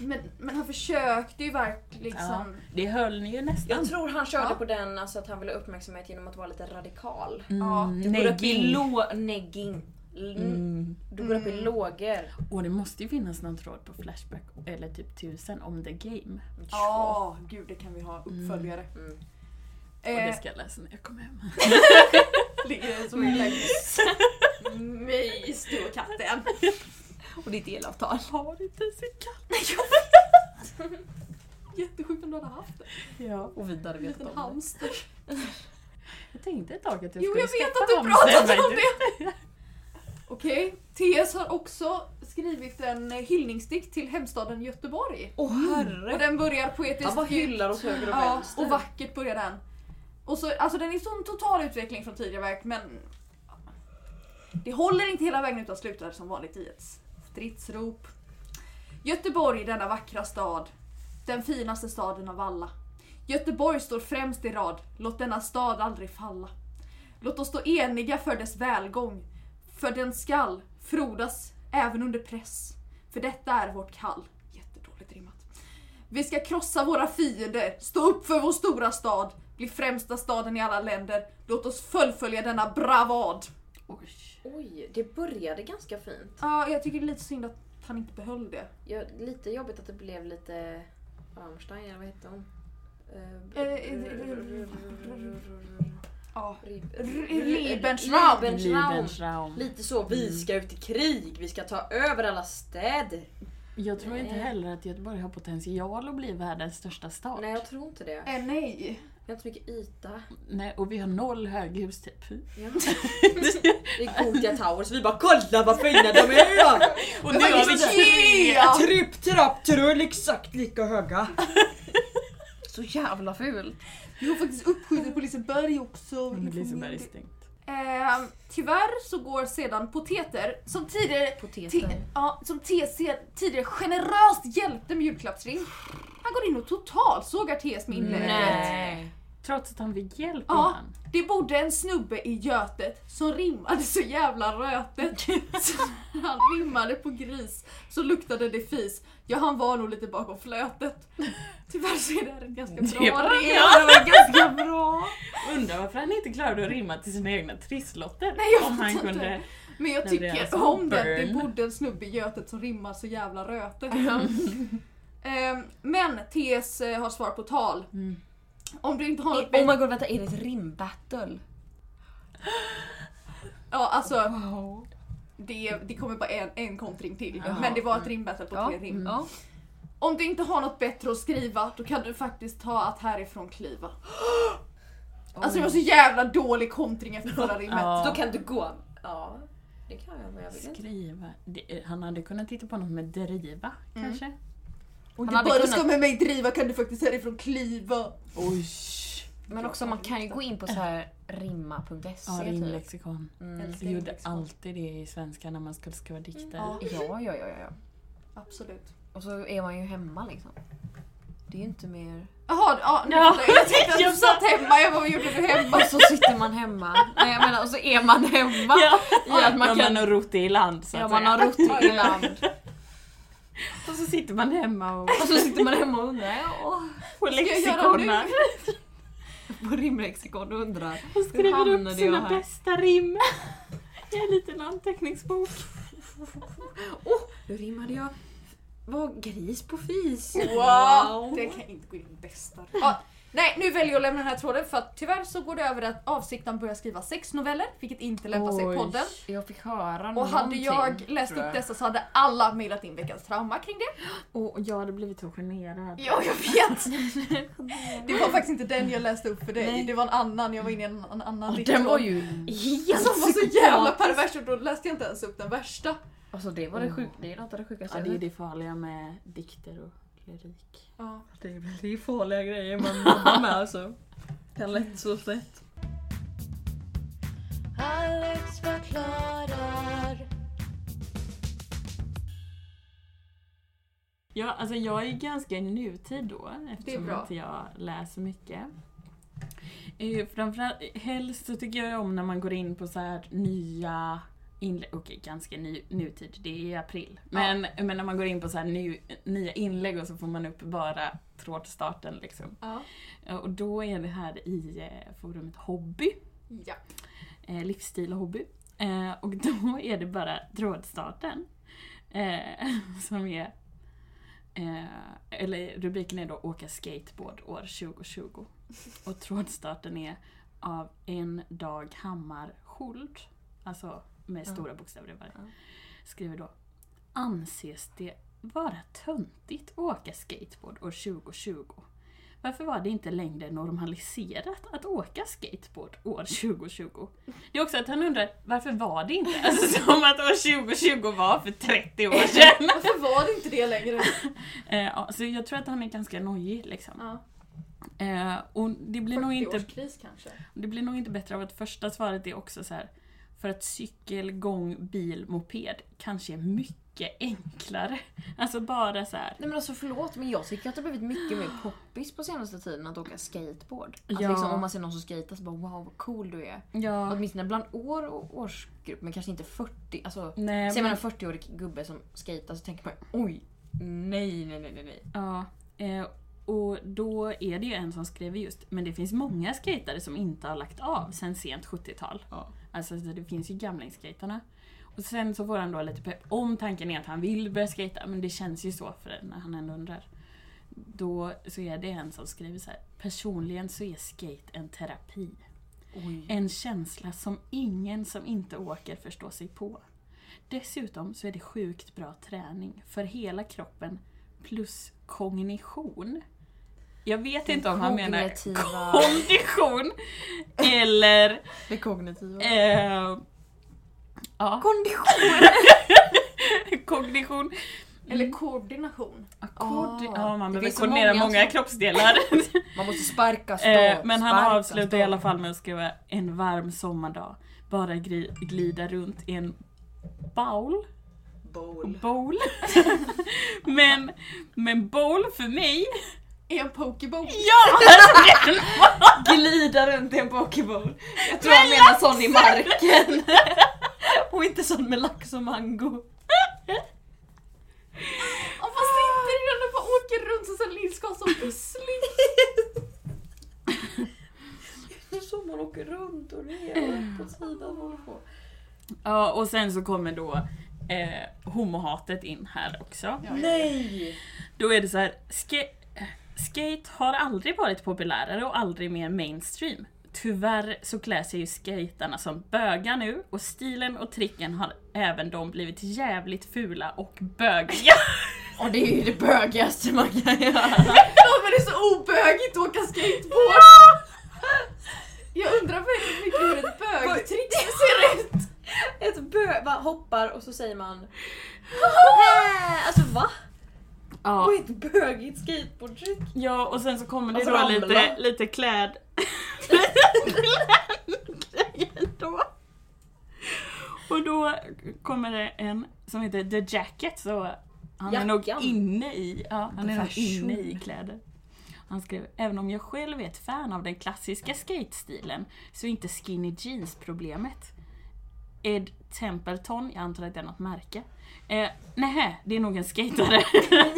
Speaker 2: Men, men han försökte ju verkligen
Speaker 5: Ja,
Speaker 2: liksom...
Speaker 5: det höll ni ju nästan.
Speaker 4: Jag tror han körde
Speaker 2: Ja.
Speaker 4: på den alltså, att han ville ha uppmärksamhet genom att vara lite radikal.
Speaker 2: Ja,
Speaker 5: mm,
Speaker 1: Du går upp i
Speaker 5: negging.
Speaker 1: lå... Negging. L-
Speaker 5: Mm.
Speaker 1: Du går upp i lågor.
Speaker 5: Och det måste ju finnas någon tråd på Flashback eller typ 1000 om the game.
Speaker 2: Ja, gud det kan vi ha uppföljare.
Speaker 4: Mm.
Speaker 5: Och det
Speaker 2: Eh,
Speaker 5: ska jag läsa när jag kommer hem.
Speaker 2: [LAUGHS] det är som en liten mys du och katten.
Speaker 1: Och ditt elavtal.
Speaker 5: Jag har inte ens en katt.
Speaker 2: Jättesjukt om du hade haft det.
Speaker 5: Ja.
Speaker 1: Och vidare
Speaker 2: En
Speaker 1: vet
Speaker 2: liten
Speaker 1: om det.
Speaker 2: hamster.
Speaker 5: Jag tänkte ett tag att jag
Speaker 2: Jo
Speaker 5: skulle
Speaker 2: jag vet
Speaker 5: skaffa
Speaker 2: att du
Speaker 5: hamster,
Speaker 2: pratat
Speaker 5: men
Speaker 2: om
Speaker 5: du-
Speaker 2: det! Okej, TS har också skrivit en eh, hyllningsdikt till hemstaden Göteborg.
Speaker 1: Åh
Speaker 2: Och
Speaker 1: herre.
Speaker 2: den börjar poetiskt
Speaker 4: Han bara
Speaker 2: ut-
Speaker 4: hyllar oss höger och
Speaker 2: Ja,
Speaker 4: vänster.
Speaker 2: och vackert börjar den. Och så, alltså den är sån total utveckling från tidigare verk men det håller inte hela vägen utan slutar som vanligt i ett stridsrop. Göteborg, denna vackra stad. Den finaste staden av alla. Göteborg står främst i rad. Låt denna stad aldrig falla. Låt oss stå eniga för dess välgång. För den skall frodas även under press. För detta är vårt kall. Jättedåligt rimmat. Vi ska krossa våra fiender, stå upp för vår stora stad, bli främsta staden i alla länder. Låt oss fullfölja denna bravad.
Speaker 5: Oj.
Speaker 4: Oj, det började ganska fint.
Speaker 2: Ja, jag tycker det är lite synd att han inte behöll det.
Speaker 4: Ja, lite jobbigt att det blev lite Rammstein, eller vad hette hon? Eh,
Speaker 2: Eh, Ja. Lebensraum.
Speaker 4: Lebensraum.
Speaker 5: Lebensraum.
Speaker 4: Lite så, vi
Speaker 1: Mm.
Speaker 4: ska ut i krig, vi ska ta över alla städer.
Speaker 5: Jag tror inte
Speaker 4: Nej.
Speaker 5: heller att Göteborg har potential att bli världens största stad.
Speaker 4: Nej jag tror inte det.
Speaker 2: Eh, nej.
Speaker 4: Vi har inte så mycket yta.
Speaker 5: Nej, och vi har noll höghus typ.
Speaker 4: Ja. Det är Gothia Towers, vi bara kolla vad fina de är!
Speaker 5: Och nu har vi tre!
Speaker 2: Ja.
Speaker 4: Tripp, trapp, trull exakt lika höga.
Speaker 1: [LAUGHS] Så jävla fult.
Speaker 2: Vi har faktiskt uppskjutit på Liseberg också.
Speaker 5: Men Liseberg är stängt.
Speaker 2: Eh, tyvärr så går sedan Poteter, som tidigare, ti,
Speaker 1: Poteter.
Speaker 2: ja, som TC tidigare generöst hjälpte med julklappsring, han går in och totalsågar TS med inlägget.
Speaker 5: Trots att han fick hjälp
Speaker 2: Ja.
Speaker 5: innan.
Speaker 2: Det bodde en snubbe i Götet som rimmade så jävla
Speaker 5: [LAUGHS]
Speaker 2: rötet. Så han rimmade på gris, så luktade det fis. Ja, han var nog lite bakom flötet. Tyvärr så är det här en ganska
Speaker 5: Det
Speaker 2: bra
Speaker 5: var,
Speaker 2: rim.
Speaker 5: ja, det var ganska bra! Undrar varför han inte klarade att rimma till sina egna trisslotter.
Speaker 2: Nej, jag
Speaker 5: om
Speaker 2: vet
Speaker 5: han
Speaker 2: inte.
Speaker 5: kunde...
Speaker 2: Men jag
Speaker 5: Men det är alltså
Speaker 2: tycker om den. Det
Speaker 5: burn.
Speaker 2: bodde en snubbe i Götet som rimmar så jävla rötet. Ehm, Men TS eh, har svar på tal.
Speaker 5: Mm.
Speaker 2: Om du inte har något
Speaker 1: Oh my god vänta, är det ett rimbattle?
Speaker 2: Ja alltså
Speaker 5: Wow.
Speaker 2: det, det kommer bara en, en kontring till.
Speaker 5: Ja.
Speaker 2: Men det var ett rimbattle på
Speaker 1: Ja.
Speaker 2: tre rim.
Speaker 5: Mm.
Speaker 1: Ja.
Speaker 2: Om du inte har något bättre att skriva då kan du faktiskt ta att härifrån kliva. [GASPS] Alltså det var så jävla dålig kontring efter förra rimmet.
Speaker 5: Ja.
Speaker 4: Då kan du gå. Ja, det kan jag men jag vill inte.
Speaker 5: Skriva. Det, eh, han hade kunnat titta på något med driva kanske.
Speaker 2: Om
Speaker 1: Han
Speaker 2: du
Speaker 1: hade
Speaker 2: bara
Speaker 1: kunnat-
Speaker 2: ska med mig driva kan du faktiskt härifrån kliva.
Speaker 5: Oj!
Speaker 1: Men också man kan ju gå in på så här rimma.se
Speaker 5: Ja,
Speaker 1: typ.
Speaker 5: rimlexikon.
Speaker 1: Mm.
Speaker 5: Vi Alltså, gjorde alltid det i svenska när man skulle skriva dikter.
Speaker 2: Ja,
Speaker 1: Ja, ja, ja, ja. ja.
Speaker 2: absolut.
Speaker 1: Och så är man ju hemma liksom. Det är ju inte mer... [LAUGHS]
Speaker 2: Jaha, ja, nu
Speaker 5: Ja.
Speaker 2: fattar jag. jag tänkte att du satt hemma, jag bara vad gjorde du
Speaker 1: [LAUGHS]
Speaker 2: hemma?
Speaker 1: Och så sitter man hemma. Nej jag menar, och så är man hemma.
Speaker 5: Ja,
Speaker 1: I att man
Speaker 5: när
Speaker 1: kan...
Speaker 5: man har rott i land så att
Speaker 1: Ja, man
Speaker 5: säga.
Speaker 1: har rott i [LAUGHS] land.
Speaker 5: Och så sitter man hemma och
Speaker 1: Och så sitter man hemma och undrar. Åh,
Speaker 5: på
Speaker 2: jag göra
Speaker 5: lexikorna
Speaker 1: på rimlexikon och undrar.
Speaker 5: och skriver
Speaker 1: hamnade
Speaker 5: upp sina
Speaker 1: jag här?
Speaker 5: bästa rim i en liten anteckningsbok.
Speaker 1: Hur rimmade jag? Var gris på fis?
Speaker 2: Wow. [LAUGHS] Det kan inte gå in bästa. Ja, nej, nu väljer jag att lämna den här tråden för att tyvärr så går det över att avsikten börjar skriva sex noveller, vilket inte lämpar sig i
Speaker 5: Oj.
Speaker 2: podden.
Speaker 1: Jag fick höra
Speaker 2: Och hade
Speaker 1: någonting,
Speaker 2: jag läst
Speaker 1: tror
Speaker 2: upp
Speaker 1: jag.
Speaker 2: dessa så hade alla mejlat in veckans trauma kring det.
Speaker 5: Och jag hade blivit så generad.
Speaker 2: Ja, jag vet! Det var faktiskt inte den jag läste upp för dig,
Speaker 1: Nej.
Speaker 2: det var en annan, jag var inne i en, en annan
Speaker 1: Ja,
Speaker 2: diktråd.
Speaker 1: den var ju helt
Speaker 2: Som var så jävla pervers och då läste jag inte ens upp den värsta.
Speaker 1: Alltså det var det sjuka, det är något av det sjukaste
Speaker 5: Ja, det är det farliga med dikter och lyrik.
Speaker 2: Ja.
Speaker 1: Det är, det är farliga grejer man jobbar med alltså. Kan lätt så lätt.
Speaker 3: Alex förklarar.
Speaker 5: Ja, alltså jag är ganska i nutid då eftersom
Speaker 2: bra.
Speaker 5: att jag läser mycket. Eh, Framförallt, helst så tycker jag om när man går in på så här nya inlägg, okej ganska ny, nutid, det är i april. Men, men när man går in på så här ny, nya inlägg och så får man upp bara trådstarten liksom.
Speaker 2: Ja.
Speaker 5: Eh, Och då är det här i eh, forumet Hobby,
Speaker 2: ja.
Speaker 5: eh, livsstil och hobby. Eh, och då är det bara trådstarten. Eh, [LAUGHS] som är... Eh, eller rubriken är då Åka skateboard år 2020. Och trådstarten är av en dag Hammarskjöld. Alltså med stora bokstäver i varje. Skriver då Anses det vara töntigt att åka skateboard år 2020? Varför var det inte längre normaliserat att åka skateboard år 2020? Det är också att han undrar, varför var det inte? Alltså [LAUGHS] som att år 2020 var för 30
Speaker 2: [LAUGHS]
Speaker 5: år sedan!
Speaker 2: Varför var det inte det längre?
Speaker 5: Eh, ja, så jag tror att han är ganska nojig liksom.
Speaker 2: Ja.
Speaker 5: Eh, och det blir, nog inte, Mm.
Speaker 2: 40-årskris kanske.
Speaker 5: det blir nog inte bättre av att första svaret är också så här. För att cykel, gång, bil, moped kanske är mycket enklare. [LAUGHS] Alltså bara så här.
Speaker 1: Nej men alltså förlåt men jag tycker att det har blivit mycket mer poppis på senaste tiden att åka skateboard. Alltså
Speaker 5: Ja.
Speaker 1: liksom om man ser någon som skejtar så bara wow vad cool du är.
Speaker 5: Ja,
Speaker 1: Åtminstone bland år och årsgrupp men kanske inte 40. Alltså,
Speaker 5: nej,
Speaker 1: ser man
Speaker 5: men,
Speaker 1: en 40-årig gubbe som skejtar så tänker man oj nej nej nej nej. nej.
Speaker 5: ja, eh, och då är det ju en som skriver just, men det finns många skatare som inte har lagt av sen sent 70-tal.
Speaker 1: Ja.
Speaker 5: Alltså så det finns ju gamlingsskejtarna. Och sen så får han då lite pepp, om tanken är att han vill börja skejta, men det känns ju så för när han ändå undrar. då så är det en som skriver så här. Personligen så är skate en terapi. En känsla som ingen som inte åker förstår sig på. Dessutom så är det sjukt bra träning för hela kroppen plus kognition. Jag vet inte om han menar
Speaker 1: Kognitiva-
Speaker 5: kondition eller
Speaker 7: Det kognitiva.
Speaker 5: eh, ja,
Speaker 1: Kondition!
Speaker 5: [LAUGHS] kognition.
Speaker 2: Eller koordination.
Speaker 5: Akkord,
Speaker 1: Ah,
Speaker 5: ja,
Speaker 1: det
Speaker 5: man behöver
Speaker 1: finns så
Speaker 5: koordinera många,
Speaker 1: många som-
Speaker 5: kroppsdelar.
Speaker 7: [LAUGHS] Man måste sparka stå.
Speaker 5: Eh, Men han
Speaker 7: sparka
Speaker 5: avslutar
Speaker 7: stå.
Speaker 5: i alla fall med att skriva en varm sommardag. Bara gri- glida runt i en bowl.
Speaker 7: Bowl.
Speaker 5: bowl. [LAUGHS] men, men bowl för mig.
Speaker 2: Är en pokeball.
Speaker 5: Ja!
Speaker 7: Glida runt i en pokebowl. Jag tror han menar sån i marken. [LAUGHS] och inte sån med lax och mango.
Speaker 2: Ja, fast det är inte det den bara åker runt som en liten ska som pyssling.
Speaker 7: Det är så man åker runt och ner och på sidan och håller på.
Speaker 5: ja, och sen så kommer då eh, homohatet in här också.
Speaker 7: Nej!
Speaker 5: Då är det så här, ska- skate har aldrig varit populärare och aldrig mer mainstream. Tyvärr så klär sig ju skaterna som bögar nu och stilen och tricken har även de blivit jävligt fula och bögiga.
Speaker 1: Och det är ju det bögigaste man kan göra.
Speaker 2: Ja men det är så obögigt att åka skateboard. Jag undrar väldigt mycket hur ett bögtrick ser ut.
Speaker 4: Ett bö... Va, hoppar och så säger man... "Äh, alltså va?
Speaker 5: ja,
Speaker 4: Vad är ett
Speaker 7: [LAUGHS]
Speaker 4: bögigt skateboardtrick?
Speaker 5: ja, och sen så kommer det
Speaker 7: Alltså,
Speaker 5: då
Speaker 7: ramla.
Speaker 5: lite, lite kläd... grejer då.
Speaker 7: Alltså,
Speaker 5: [LAUGHS] Och då kommer det en som heter The Jacket, så han är nog
Speaker 4: Jackan.
Speaker 5: inne i, ja, han
Speaker 7: The
Speaker 5: är nog
Speaker 7: fashion.
Speaker 5: inne i kläder. Han skrev, även om jag själv är ett fan av den klassiska skate-stilen så är inte skinny jeans problemet. Ed Templeton, jag antar att det är något märke. Eh, nähä, det är nog en skatare.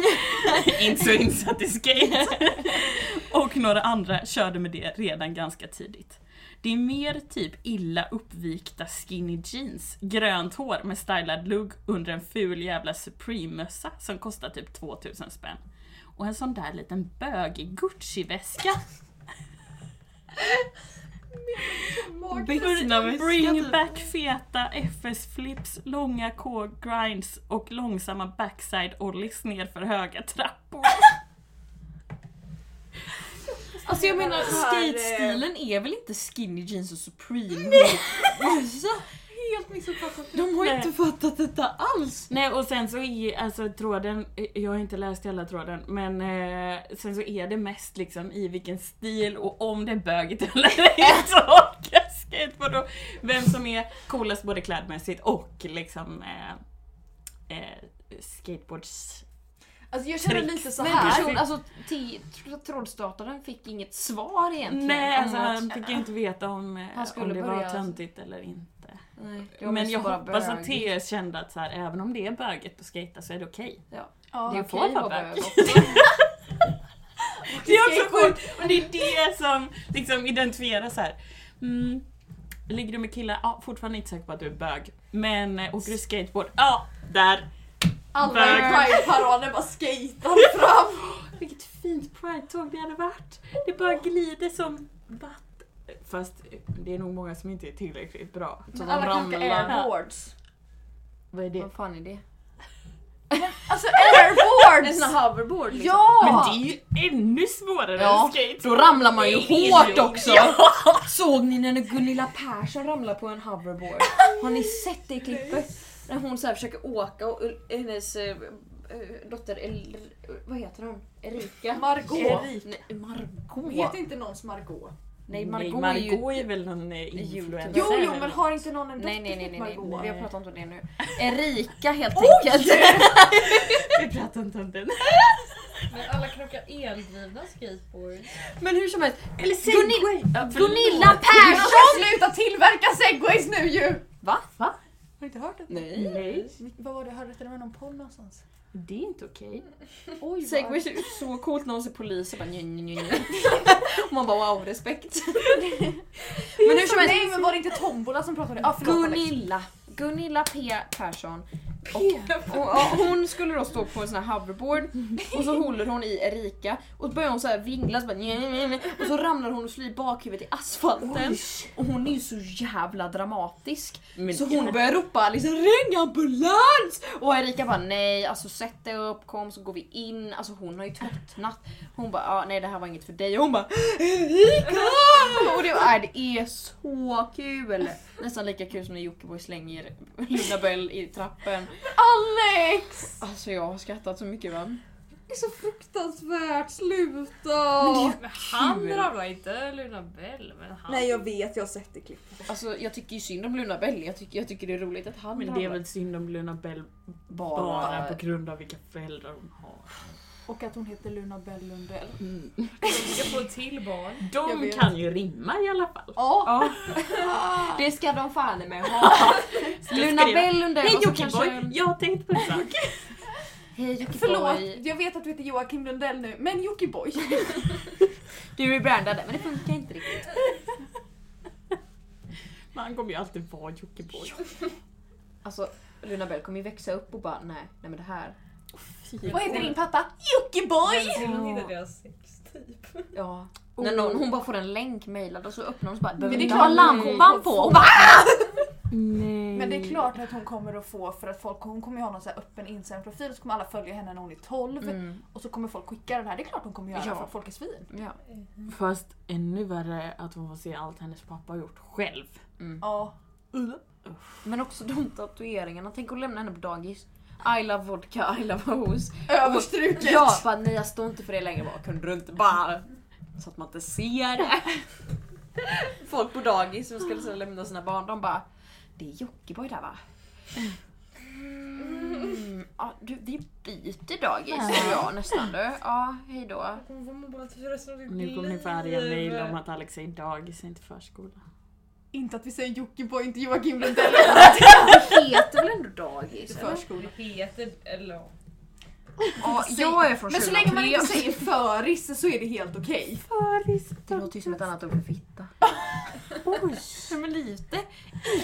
Speaker 5: [LAUGHS] inte så insatt i skate. [LAUGHS] Och några andra körde med det redan ganska tidigt. Det är mer typ illa uppvikta skinny jeans, grönt hår med stylad lugg under en ful jävla Supreme-mössa som kostar typ 2000 spänn. Och en sån där liten bögig Gucci-väska. Bring- Bring back feta FS-flips, långa K-grinds och långsamma backside-ollies ner för höga trappor.
Speaker 7: Alltså jag menar skate-stilen är väl inte skinny jeans och supreme Nej. Alltså,
Speaker 2: Helt missuppfattat.
Speaker 7: De har
Speaker 5: Nej.
Speaker 7: inte fattat detta alls!
Speaker 5: Nej och sen så är alltså tråden, jag har inte läst hela tråden, men eh, sen så är det mest liksom i vilken stil och om det är bögigt
Speaker 1: [LAUGHS]
Speaker 5: eller inte och skateboard och vem som är coolast både klädmässigt och liksom eh, eh, skateboards...
Speaker 2: Alltså jag känner
Speaker 5: Trick.
Speaker 2: lite så
Speaker 1: Men
Speaker 2: här.
Speaker 1: person, alltså t- tr- trådstartaren fick inget svar egentligen.
Speaker 5: Nej alltså
Speaker 1: om att-
Speaker 5: han fick ju inte veta om, eh,
Speaker 1: Han skulle
Speaker 5: om det var
Speaker 1: börja-
Speaker 5: töntigt eller inte.
Speaker 1: Nej, det var
Speaker 5: Men
Speaker 1: mest
Speaker 5: jag
Speaker 1: bara
Speaker 5: hoppas att
Speaker 1: bög.
Speaker 5: TS kände att så här, även om det är bögigt att skejta så är det okej.
Speaker 2: Ja.
Speaker 1: Det är
Speaker 5: Jag får
Speaker 1: okej att
Speaker 5: vara
Speaker 1: vara
Speaker 5: bög.
Speaker 1: bög också.
Speaker 5: Det är också sjukt! Och det är det som liksom identifierar så här. Mm, ligger du med killar? Ja, fortfarande inte säker på att du är bög. Men eh, åker du skateboard? Ja, där!
Speaker 2: Alla i
Speaker 5: Bög.
Speaker 2: Pride-paraden bara
Speaker 1: [LAUGHS]
Speaker 2: skejtar fram.
Speaker 5: Vilket fint pridetåg det hade varit! Det bara glider som vatten. Fast eh, det är nog många som inte är tillräckligt bra.
Speaker 1: Så de
Speaker 2: Alla kan åka
Speaker 1: ramlar.
Speaker 2: airboards.
Speaker 5: Vad är det?
Speaker 1: Vad fan är det?
Speaker 2: Alltså
Speaker 4: En
Speaker 2: airboards!
Speaker 4: sån här hoverboard
Speaker 2: [LAUGHS]
Speaker 5: Men
Speaker 4: liksom.
Speaker 2: Ja!
Speaker 5: det är ju ännu svårare
Speaker 1: Ja,
Speaker 5: än skate.
Speaker 1: Då ramlar man ju
Speaker 5: Det är
Speaker 1: hårt
Speaker 5: ju-
Speaker 1: också! Såg ni när Gunilla Persson ramlade på en hoverboard? Har ni sett det klippet? När hon så här försöker åka och eh, hennes eh, eh, dotter El, vad heter hon? Erika?
Speaker 2: Margot.
Speaker 1: Nej, Margot?
Speaker 2: Heter inte någons Margot?
Speaker 1: Nej
Speaker 5: Nej,
Speaker 1: Margot är ju...
Speaker 5: Margot är väl någon eh, influencer?
Speaker 2: Jo, jo
Speaker 5: eller
Speaker 2: men har inte någon en dotter
Speaker 1: Nej nej nej
Speaker 2: till
Speaker 1: nej, nej,
Speaker 2: Margot?
Speaker 1: vi har pratat inte om det nu. Erika helt enkelt.
Speaker 5: Vi pratar inte om den.
Speaker 7: Men alla krockar eldrivna skateboards.
Speaker 1: Men hur som helst,
Speaker 5: Eller
Speaker 1: Gunilla-
Speaker 5: Ja, förlåt.
Speaker 1: Gunilla
Speaker 2: Men
Speaker 1: Persson!
Speaker 2: de ska sluta tillverka segways nu ju!
Speaker 1: Va? Va?
Speaker 2: Har du inte hört det?
Speaker 1: Nej.
Speaker 5: Nej,
Speaker 2: Vad var det jag hörde? Det var någon podd någonstans.
Speaker 5: det är inte okej.
Speaker 2: Oj,
Speaker 1: Segways är så coolt när hon ser poliser bara nj, nj, nj, nj. Och man bara wow respekt.
Speaker 2: men
Speaker 1: hur som helst-
Speaker 2: Nej men var det inte Tombola som pratade? Ah, förlåt, Alex.
Speaker 1: Gunilla. Gunilla P Persson Och, ja, hon skulle då stå på en sån här hoverboard och så håller hon i Erika och så börjar hon så här vingla så bara, "Nj, nj, nj", och så ramlar hon och slår i bakhuvudet i asfalten. Och hon är ju så jävla dramatisk.
Speaker 5: Men-
Speaker 1: så hon börjar ropa liksom ring ambulans! Och Erika bara nej, alltså sätt dig upp, kom så går vi in. Alltså hon har ju tröttnat. Hon bara ah, nej det här var inget för dig. Och hon bara Erika! Och det, nej, det är så kul! Nästan lika kul som när Jockiboi slänger Luna Bell i trappen.
Speaker 2: Alex!
Speaker 1: Alltså jag har skrattat så mycket va?
Speaker 2: Det är så fruktansvärt, sluta!
Speaker 6: Men han ramlar inte Luna Bell, men han...
Speaker 8: Nej jag vet, jag har sett det klippet.
Speaker 1: Alltså jag tycker ju synd om Luna Bell, jag tycker, jag tycker det är roligt att han
Speaker 5: Men det är väl synd om Luna Bell
Speaker 1: bara...
Speaker 5: bara på grund av vilka föräldrar hon har.
Speaker 2: Och att hon heter Luna Bell Lundell.
Speaker 1: Mm.
Speaker 6: Vi ska få ett till barn.
Speaker 2: Jag
Speaker 5: De
Speaker 2: vet.
Speaker 5: kan ju rimma i alla fall.
Speaker 2: Ja, Ah!
Speaker 1: Det [LAUGHS] ska de fan med ha! Luna
Speaker 5: skriva.
Speaker 1: Bell under
Speaker 5: Hej
Speaker 1: och så
Speaker 5: Jockiboi! Jag har tänkt på detta.
Speaker 1: Hej Jockiboi!
Speaker 2: förlåt. Jag vet att du heter Joakim Lundell nu, men Jockiboi.
Speaker 1: Du är brandad men det funkar inte riktigt.
Speaker 5: Men han kommer ju alltid vara Jockiboi.
Speaker 1: Alltså Luna Bell kommer ju växa upp och bara nej, nej men det här.
Speaker 2: [LAUGHS] Vad heter din pappa? Jockiboi!
Speaker 6: Jag vill inte deras sex typ.
Speaker 1: Ja. När någon, hon bara får en länk mejlad och så öppnar hon och så bara behöver
Speaker 2: det är
Speaker 1: inte ha
Speaker 2: klart-
Speaker 1: lampan på. Hon bara,
Speaker 5: Nej.
Speaker 2: Men det är klart att hon kommer att få för att folk, hon kommer ju ha någon så här öppen Instagram-profil så kommer alla följa henne när hon är 12
Speaker 1: mm.
Speaker 2: och så kommer folk skicka den här. Det är klart hon kommer göra
Speaker 1: Ja.
Speaker 2: för att folk är svin.
Speaker 1: ja.
Speaker 5: Fast ännu värre att hon får se allt hennes pappa har gjort själv.
Speaker 2: Ja. Mm.
Speaker 1: Men också de tatueringarna, tänk att lämna henne på dagis. I love vodka, I love hose.
Speaker 2: Överstruket!
Speaker 1: Ja, bara nej jag står inte för det längre. Bara, kunde du inte bara... Så att man inte ser det. [LAUGHS] Folk på dagis som skulle så lämna sina barn, de bara Det är Jockiboi där va? Mm, ja, du, vi byter dagis du och jag nästan du. Ja, hejdå.
Speaker 6: Jag kommer få mobba för resten av ditt
Speaker 5: Nu kommer ni få arga mejl om att Alex är dagis, inte förskola.
Speaker 2: Inte att vi säger Jockiboi, inte Joakim [LAUGHS] Lundell.
Speaker 1: Det heter väl ändå dagis? eller?
Speaker 6: Förskola heter... Eller ja.
Speaker 1: Ja, jag är från
Speaker 2: Men så länge man inte
Speaker 1: 2003.
Speaker 2: säger föris så är det helt okej.
Speaker 1: Det låter ju som ett annat ord för fitta.
Speaker 5: Oj!
Speaker 1: Men lite.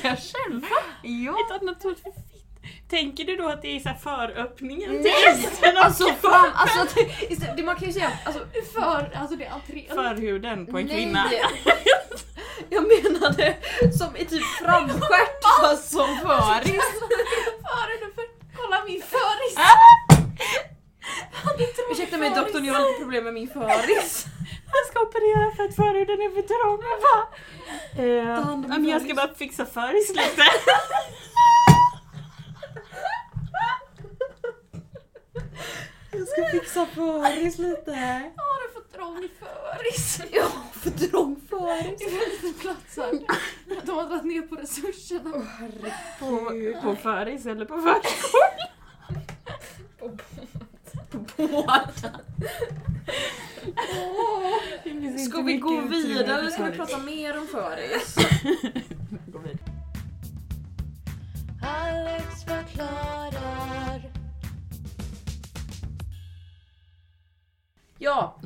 Speaker 5: Erkänn!
Speaker 1: Ja.
Speaker 5: Ett annat ord för fitt. Tänker du då att det är så här föröppningen till
Speaker 1: Nej!
Speaker 5: resten av
Speaker 1: Alltså fan, alltså, det- istället- det, man kan ju säga alltså,
Speaker 2: För, alltså det är entrén.
Speaker 5: förhuden på en kvinna?
Speaker 1: [LAUGHS] Jag menade som i typ
Speaker 5: [LAUGHS]
Speaker 1: framstjärt fast som föris.
Speaker 2: Förin för... Kolla min föris!
Speaker 1: Ursäkta mig doktorn, jag har lite problem med min föris.
Speaker 5: Jag ska operera för att förhuden är för trång. Jag bara, eh,
Speaker 1: hand om
Speaker 5: ja, men jag ska
Speaker 1: föris.
Speaker 5: bara fixa föris lite.
Speaker 1: Jag ska fixa föris lite.
Speaker 2: Har du fått dra min föris?
Speaker 1: Ja, för trång föris.
Speaker 2: Det är för lite plats här. De har dragit ner på resurserna.
Speaker 5: På, på föris eller på föris?
Speaker 1: Ska vi gå vidare eller ska vi prata mer om [LAUGHS] föris?
Speaker 5: Gå vidare.
Speaker 3: Alex förklarar.
Speaker 1: Ja.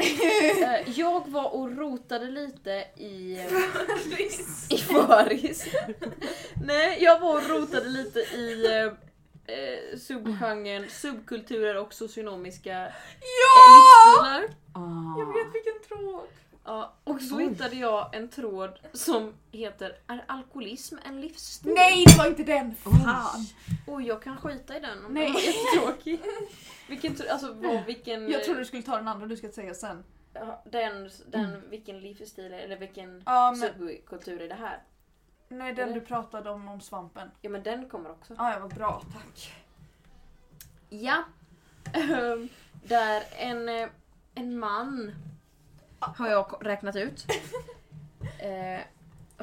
Speaker 1: Eh, Jag var och rotade lite i... eh, I [LAUGHS] föris. Nej, jag var och rotade lite i eh, eh, subgenren subkulturer och socionomiska ja! livsstilar.
Speaker 5: Ah.
Speaker 2: vilken tråd.
Speaker 1: Ja, och så hittade jag en tråd som heter Är alkoholism en livsstil?
Speaker 2: Nej det var inte den! Fan!
Speaker 1: Oj, jag kan skita i den om
Speaker 2: Nej.
Speaker 1: den var jättetråkig. [LAUGHS] Vilken, tro- alltså vad, vilken...
Speaker 2: Jag trodde du skulle ta den andra du ska säga sen.
Speaker 1: ja, den, den, vilken livsstil är- eller vilken
Speaker 2: Mm. Ja men,
Speaker 1: subkultur är det här?
Speaker 2: nej den du pratade om, om svampen.
Speaker 1: Ja men den kommer också.
Speaker 2: Ah, ja vad bra, tack.
Speaker 1: Ja. Ehm, Där en, eh, en man har jag ko- räknat ut. eh,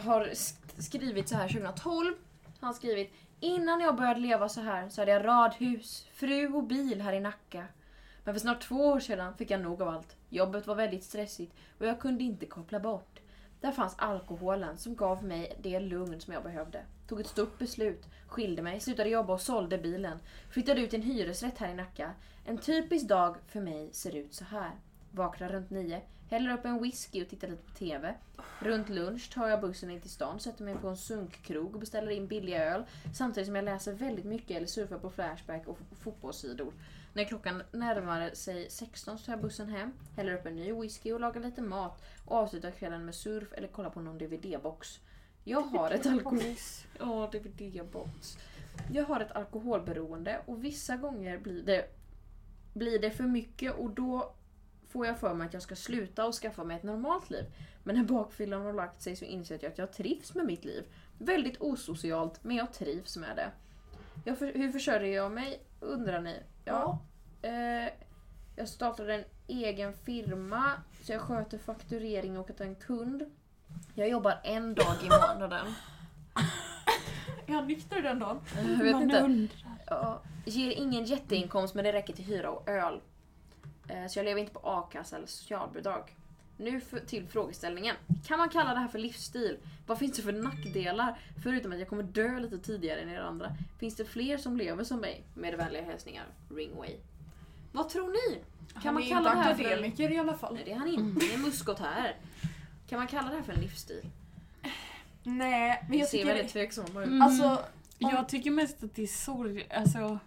Speaker 1: har sk- skrivit så här 2012. Han har skrivit Innan jag började leva så här så hade jag radhus, fru och bil här i Nacka. Men för snart två år sedan fick jag nog av allt. Jobbet var väldigt stressigt och jag kunde inte koppla bort. Där fanns alkoholen som gav mig det lugn som jag behövde. Tog ett stort beslut, skilde mig, slutade jobba och sålde bilen. Flyttade ut i en hyresrätt här i Nacka. En typisk dag för mig ser ut så här. Vaknar runt nio. Häller upp en whisky och tittar lite på TV. Runt lunch tar jag bussen in till stan, sätter mig på en sunkkrog och beställer in billiga öl. Samtidigt som jag läser väldigt mycket eller surfar på Flashback och f- fotbollssidor. När klockan närmar sig 16 så tar jag bussen hem, häller upp en ny whisky och lagar lite mat och avslutar kvällen med surf eller kollar på någon DVD-box. Jag har ett alkohol... Ja, DVD-box. Jag har ett alkoholberoende och vissa gånger blir det, blir det för mycket och då får jag för mig att jag ska sluta och skaffa mig ett normalt liv. Men när bakfyllan har lagt sig så inser jag att jag trivs med mitt liv. Väldigt osocialt, men jag trivs med det. Jag för, hur försörjer jag mig, undrar ni? Ja. Eh, jag startade en egen firma, så jag sköter fakturering och att ha en kund. Jag jobbar en dag i månaden.
Speaker 2: Är han nykter den dagen?
Speaker 1: Eh, Jag vet inte. Ja, ger ingen jätteinkomst men det räcker till hyra och öl. Eh, Så jag lever inte på a-kassa eller socialbidrag. Nu för, till frågeställningen. Kan man kalla det här för livsstil? Vad finns det för nackdelar? Förutom att jag kommer dö lite tidigare än er andra. Finns det fler som lever som mig? Med vänliga hälsningar, Ringway. Vad tror ni? Kan
Speaker 2: han
Speaker 1: man
Speaker 2: är
Speaker 1: kalla det
Speaker 2: inte
Speaker 1: här för... en-
Speaker 2: akademiker i alla fall.
Speaker 1: Nej det är han inte, det är muskot här. Kan man kalla det här för en livsstil?
Speaker 2: Nej, men
Speaker 1: Det
Speaker 2: jag
Speaker 1: ser
Speaker 2: tycker...
Speaker 1: väldigt Mm. tveksamma ut.
Speaker 2: Alltså,
Speaker 5: Jag tycker mest att det är sorg, alltså.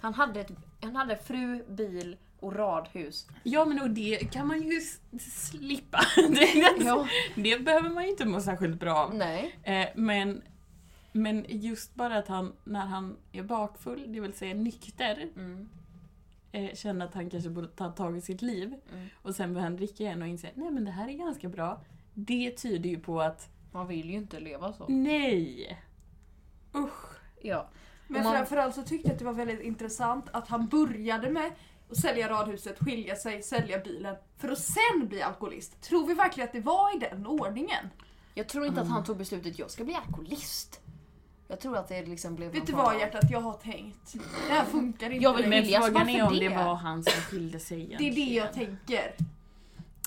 Speaker 1: Han hade, ett, han hade fru, bil och radhus.
Speaker 5: Ja men och det kan man ju s- slippa. [LAUGHS] Det, det behöver man ju inte må särskilt bra av.
Speaker 1: Nej.
Speaker 5: Eh, men, men just bara att han, när han är bakfull, det vill säga nykter,
Speaker 1: Mm.
Speaker 5: eh, känner att han kanske borde ta tag i sitt liv.
Speaker 1: Mm.
Speaker 5: Och sen börjar han dricka igen och inser nej men det här är ganska bra. Det tyder ju på att
Speaker 1: Man vill ju inte leva så.
Speaker 5: nej! Usch!
Speaker 1: Ja.
Speaker 2: men
Speaker 1: Om man-
Speaker 2: framförallt så tyckte jag att det var väldigt intressant att han började med att sälja radhuset, skilja sig, sälja bilen för att sen bli alkoholist. Tror vi verkligen att det var i den ordningen?
Speaker 1: Jag tror inte att han tog beslutet jag ska bli alkoholist. Jag tror att det liksom blev någon
Speaker 2: Vet du
Speaker 1: form
Speaker 2: vad
Speaker 1: av-
Speaker 2: hjärtat, jag har tänkt. Det här funkar inte
Speaker 1: Jag vill
Speaker 2: längre.
Speaker 1: med- Elias,
Speaker 5: frågan är
Speaker 1: varför
Speaker 5: om det?
Speaker 1: det?
Speaker 5: var han som skilde sig
Speaker 2: Det är
Speaker 5: egentligen.
Speaker 2: det jag tänker.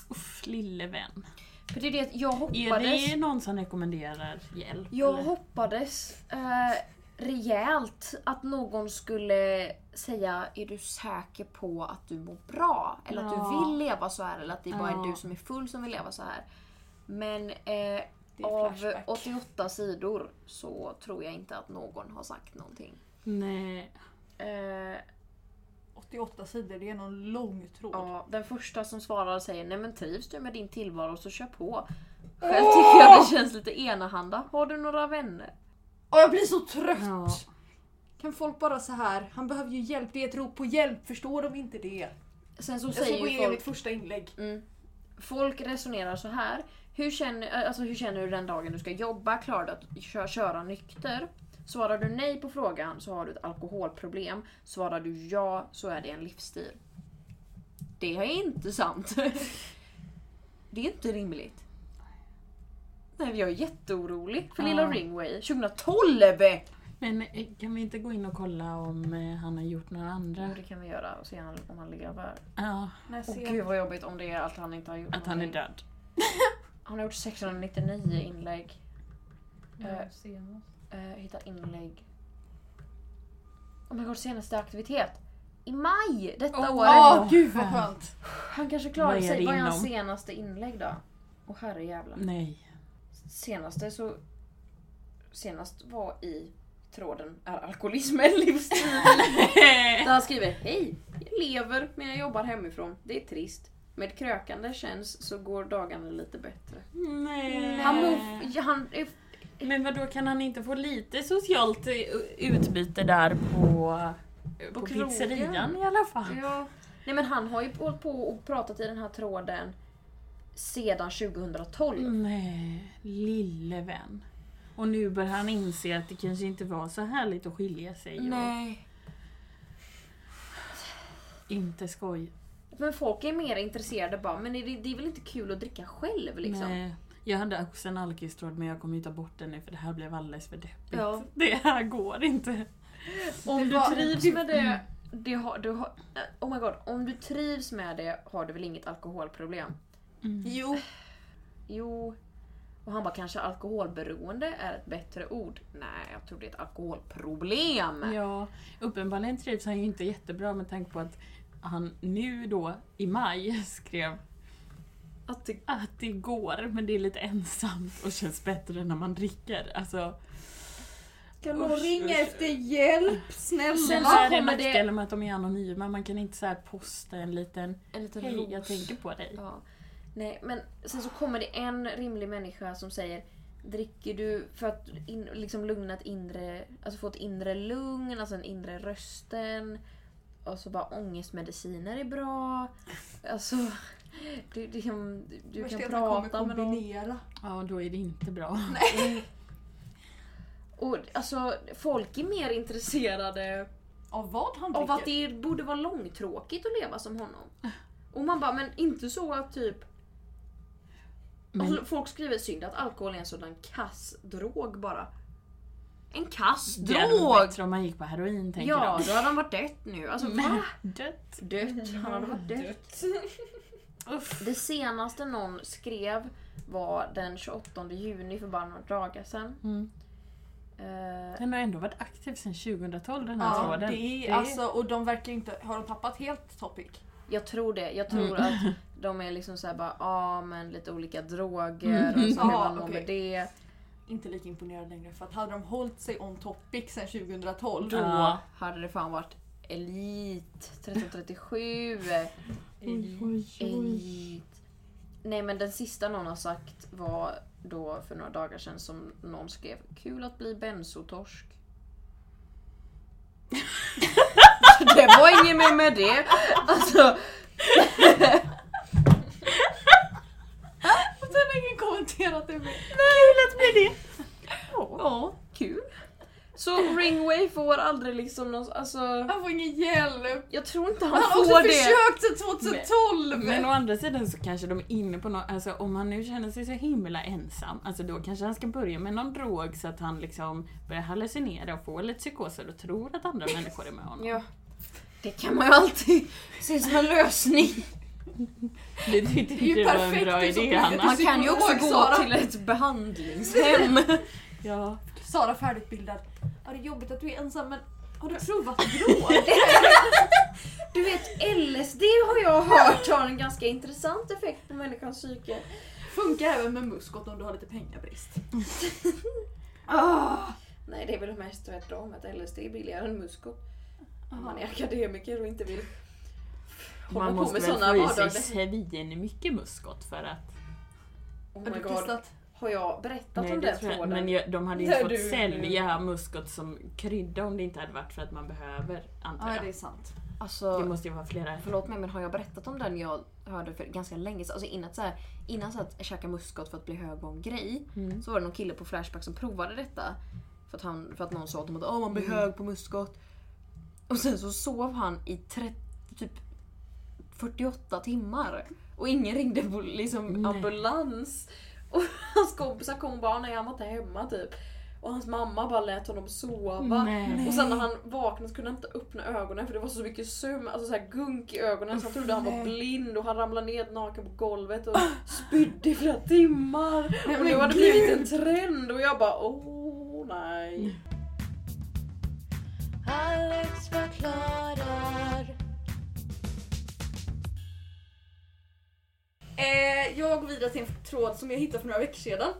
Speaker 5: Uff, lille vän.
Speaker 1: För det är det att jag
Speaker 5: Är
Speaker 1: hoppades.
Speaker 5: det någon som rekommenderar hjälp?
Speaker 1: Jag
Speaker 5: eller?
Speaker 1: hoppades eh, rejält att någon skulle säga är du säker på att du mår bra? Eller att du
Speaker 5: Ja.
Speaker 1: vill leva så här? Eller att det bara
Speaker 5: Ja.
Speaker 1: är du som är full som vill leva så här? Men eh,
Speaker 2: Det är
Speaker 1: av
Speaker 2: flashback.
Speaker 1: 88 sidor så tror jag inte att någon har sagt någonting.
Speaker 5: Nej.
Speaker 1: Eh,
Speaker 2: 88 sidor, det är någon lång tråd.
Speaker 1: Ja, den första som svarar säger nej men trivs du med din tillvaro så kör på. Själv tycker jag det känns lite enahanda. Har du några vänner?
Speaker 2: Åh, jag blir så trött!
Speaker 5: Ja.
Speaker 2: Kan folk bara så här, han behöver ju hjälp, det är ett rop på hjälp, förstår de inte det?
Speaker 1: Sen så
Speaker 2: Jag ska
Speaker 1: säger
Speaker 2: gå
Speaker 1: ju
Speaker 2: igenom
Speaker 1: folk,
Speaker 2: mitt första inlägg.
Speaker 1: folk resonerar så här. Hur känner, alltså, hur känner du den dagen du ska jobba? Klarar du att kö- köra nykter? Svarar du nej på frågan så har du ett alkoholproblem. Svarar du ja så är det en livsstil. Det är inte sant. [LAUGHS] Det är inte rimligt. Nej, jag är jätteorolig för lilla
Speaker 5: Ja.
Speaker 1: Ringway 2012!
Speaker 5: Men eh, kan vi inte gå in och kolla om eh, han har gjort några andra?
Speaker 1: Jo, det kan vi göra och se han- om han lever.
Speaker 5: Ja,
Speaker 2: När jag
Speaker 1: Åh
Speaker 2: ser-
Speaker 1: gud vad jobbigt om det är att han inte har gjort
Speaker 5: att han är
Speaker 1: någonting.
Speaker 5: död.
Speaker 1: Han har gjort 699 inlägg. Eh,
Speaker 6: senast.
Speaker 1: eh, hitta inlägg. Oh my god, senaste aktivitet! I maj detta
Speaker 5: Åh,
Speaker 1: året!
Speaker 2: Åh gud vad skönt!
Speaker 1: Han kanske
Speaker 5: Vad
Speaker 1: klarar
Speaker 5: är
Speaker 1: sig.
Speaker 5: det
Speaker 1: Vad är hans
Speaker 5: inom?
Speaker 1: senaste inlägg då? Och herrejävlar.
Speaker 5: Nej.
Speaker 1: Senaste så... Senast var i tråden är alkoholism en livsstil. Där han skriver Hej! Jag lever men jag jobbar hemifrån. Det är trist. Med krökande känns så går dagarna lite bättre.
Speaker 5: Nej.
Speaker 1: Han, mår- ja, han är
Speaker 5: Men vad då kan han inte få lite socialt eh, utbyte där på, eh, på,
Speaker 1: På krogen.
Speaker 5: pizzerian i alla fall?
Speaker 1: ja. Nej men han har ju hållit på och pratat i den här tråden sedan 2012.
Speaker 5: Nej, lille vän. Och nu börjar han inse att det kanske inte var så härligt att skilja sig
Speaker 1: Nej.
Speaker 5: och inte skoj.
Speaker 1: Men folk är mer intresserade bara, men är det, det är väl inte kul att dricka själv liksom?
Speaker 5: Nej. Jag hade också en alkistråd men jag kommer ju ta bort den nu för det här blev alldeles för deppigt.
Speaker 1: Ja.
Speaker 5: [LAUGHS] Det här går inte.
Speaker 1: Om du Mm.
Speaker 2: var-
Speaker 1: trivs med det, det har, du har, oh my god, om du trivs med det har du väl inget alkoholproblem?
Speaker 2: Jo,
Speaker 1: Jo. Och han bara kanske alkoholberoende är ett bättre ord. Nej, jag tror det är ett alkoholproblem.
Speaker 5: Ja, uppenbarligen trivs han ju inte jättebra med tanke på att han nu då i maj [LAUGHS] skrev
Speaker 7: Att det,
Speaker 5: att det går men det är lite ensamt och känns bättre när man dricker. Alltså,
Speaker 7: kan någon ringa efter hjälp? Snälla!
Speaker 5: sen så är det nackdelen med att de är anonyma, man kan inte så här posta en liten
Speaker 1: En liten
Speaker 5: Hej, jag
Speaker 1: ros.
Speaker 5: tänker på dig.
Speaker 1: Ja. Nej, men sen så kommer det en rimlig människa som säger Dricker du för att in, liksom lugna ett inre, alltså få ett inre lugn, alltså en inre rösten. Och så bara ångestmediciner är bra. Alltså, du, du kan, du
Speaker 2: Värst är
Speaker 1: kan
Speaker 2: att man kommer
Speaker 1: prata med någon.
Speaker 2: kombinera.
Speaker 5: Ja, och då är det inte bra.
Speaker 1: Och, alltså, folk är mer intresserade
Speaker 2: Av vad han
Speaker 1: av att
Speaker 2: dricker?
Speaker 1: det borde vara långtråkigt att leva som honom. Och man bara, men inte så att typ
Speaker 5: Men-
Speaker 1: Alltså, folk skriver synd att alkohol är en sådan kass drog bara. En kass
Speaker 5: Det hade varit
Speaker 1: drog!
Speaker 5: bättre om man gick på heroin tänker
Speaker 1: Ja, då hade han varit dött nu. Alltså va?
Speaker 5: de. Dött.
Speaker 1: Dött. Han hade varit dött.
Speaker 5: Uff.
Speaker 1: Det senaste någon skrev var den 28 juni för bara några dagar sedan.
Speaker 5: Mm.
Speaker 1: Eh,
Speaker 5: Den har ändå varit aktiv sedan 2012 den här
Speaker 2: Ja,
Speaker 5: tråden.
Speaker 2: det är, alltså, och de verkar inte... Har de tappat helt topic?
Speaker 1: jag tror det. Jag tror att de är liksom såhär bara, ja ah, men lite olika droger och så hur
Speaker 2: Ja,
Speaker 1: man mår
Speaker 2: okej.
Speaker 1: med det.
Speaker 2: Inte lika imponerad längre för att hade de hållit sig on topic sedan 2012
Speaker 5: då.
Speaker 1: Hade det fan varit Elit 1337. Ej. Nej men den sista någon har sagt var då för några dagar sedan som någon skrev Kul att bli bensotorsk. [LAUGHS] Så det var inget mer med det. Alltså,
Speaker 2: Sen har ingen kommenterat det mer.
Speaker 1: ja, kul. Så Ringway får aldrig liksom någon, alltså
Speaker 2: Han får ingen hjälp.
Speaker 1: jag tror inte han,
Speaker 2: Han har också
Speaker 1: får det.
Speaker 2: försökt sedan 2012!
Speaker 5: Men å andra sidan så kanske de är inne på något, alltså om han nu känner sig så himla ensam, alltså då kanske han ska börja med någon drog så att han liksom börjar hallucinera och får lite psykoser och tror att andra människor är med honom.
Speaker 1: Ja. Det kan man ju alltid [LAUGHS] se som en lösning.
Speaker 5: Det tyckte
Speaker 2: ju
Speaker 5: inte det var en
Speaker 2: perfekt,
Speaker 5: bra
Speaker 2: det är så
Speaker 5: idé
Speaker 2: bra.
Speaker 5: Hanna.
Speaker 1: Man kan ju också
Speaker 2: Psykolog,
Speaker 1: gå
Speaker 2: Sara.
Speaker 1: till ett behandlingshem.
Speaker 5: Ja.
Speaker 2: Sara färdigutbildad. Ja, det är jobbigt att du är ensam men har du provat [LAUGHS] drog?
Speaker 1: [LAUGHS] Du vet LSD har jag hört har en ganska intressant effekt på människans psyke.
Speaker 2: Funkar även med muskot om du har lite [LAUGHS] pengabrist. Ah!
Speaker 1: Nej det är väl mest tvärtom att LSD är billigare än muskot. Om man är
Speaker 2: Ja.
Speaker 1: akademiker och inte vill hålla
Speaker 5: Man
Speaker 1: på
Speaker 5: måste
Speaker 1: med
Speaker 5: väl
Speaker 1: sådana
Speaker 5: få i sig
Speaker 1: vardagliga...
Speaker 5: svin mycket muskot för att...
Speaker 1: Oh
Speaker 2: Har
Speaker 1: my
Speaker 2: du
Speaker 1: god.
Speaker 2: testat?
Speaker 1: Har jag berättat
Speaker 5: Nej,
Speaker 1: om
Speaker 5: det
Speaker 1: den
Speaker 5: tror jag,
Speaker 1: tråden?
Speaker 5: inte. men jag, de hade ju
Speaker 6: Nej,
Speaker 5: fått
Speaker 6: du-
Speaker 5: sälja muskot som krydda om det inte hade varit för att man behöver, antar
Speaker 2: Ja, det
Speaker 5: jag.
Speaker 2: är sant.
Speaker 5: Det
Speaker 1: Alltså,
Speaker 5: måste ju vara flera.
Speaker 1: förlåt mig men har jag berättat om den jag hörde för ganska länge sedan? Alltså innan så här, innan så att käka muskot för att bli hög var en grej.
Speaker 5: Mm.
Speaker 1: Så var det någon kille på Flashback som provade detta. För att, han, för att någon sa åt honom att "Åh, man
Speaker 5: Mm.
Speaker 1: blir hög på muskot. Och sen så sov han i 30, typ 48 timmar. Och ingen ringde på liksom,
Speaker 5: Nej.
Speaker 1: ambulans. Och [LAUGHS] hans kompisar kom och bara nej han var inte hemma typ. Och hans mamma bara lät honom sova.
Speaker 5: Nej.
Speaker 1: Och sen när han vaknade så kunde han inte öppna ögonen för det var så mycket sömn, alltså så här gunk i ögonen så han trodde han var blind och han ramlade ned naken på golvet och spydde i flera timmar. Och nu har det blivit en trend och jag bara åh nej.
Speaker 3: Alex förklarar.
Speaker 2: Eh, jag går vidare till en tråd som jag hittade för några veckor sedan.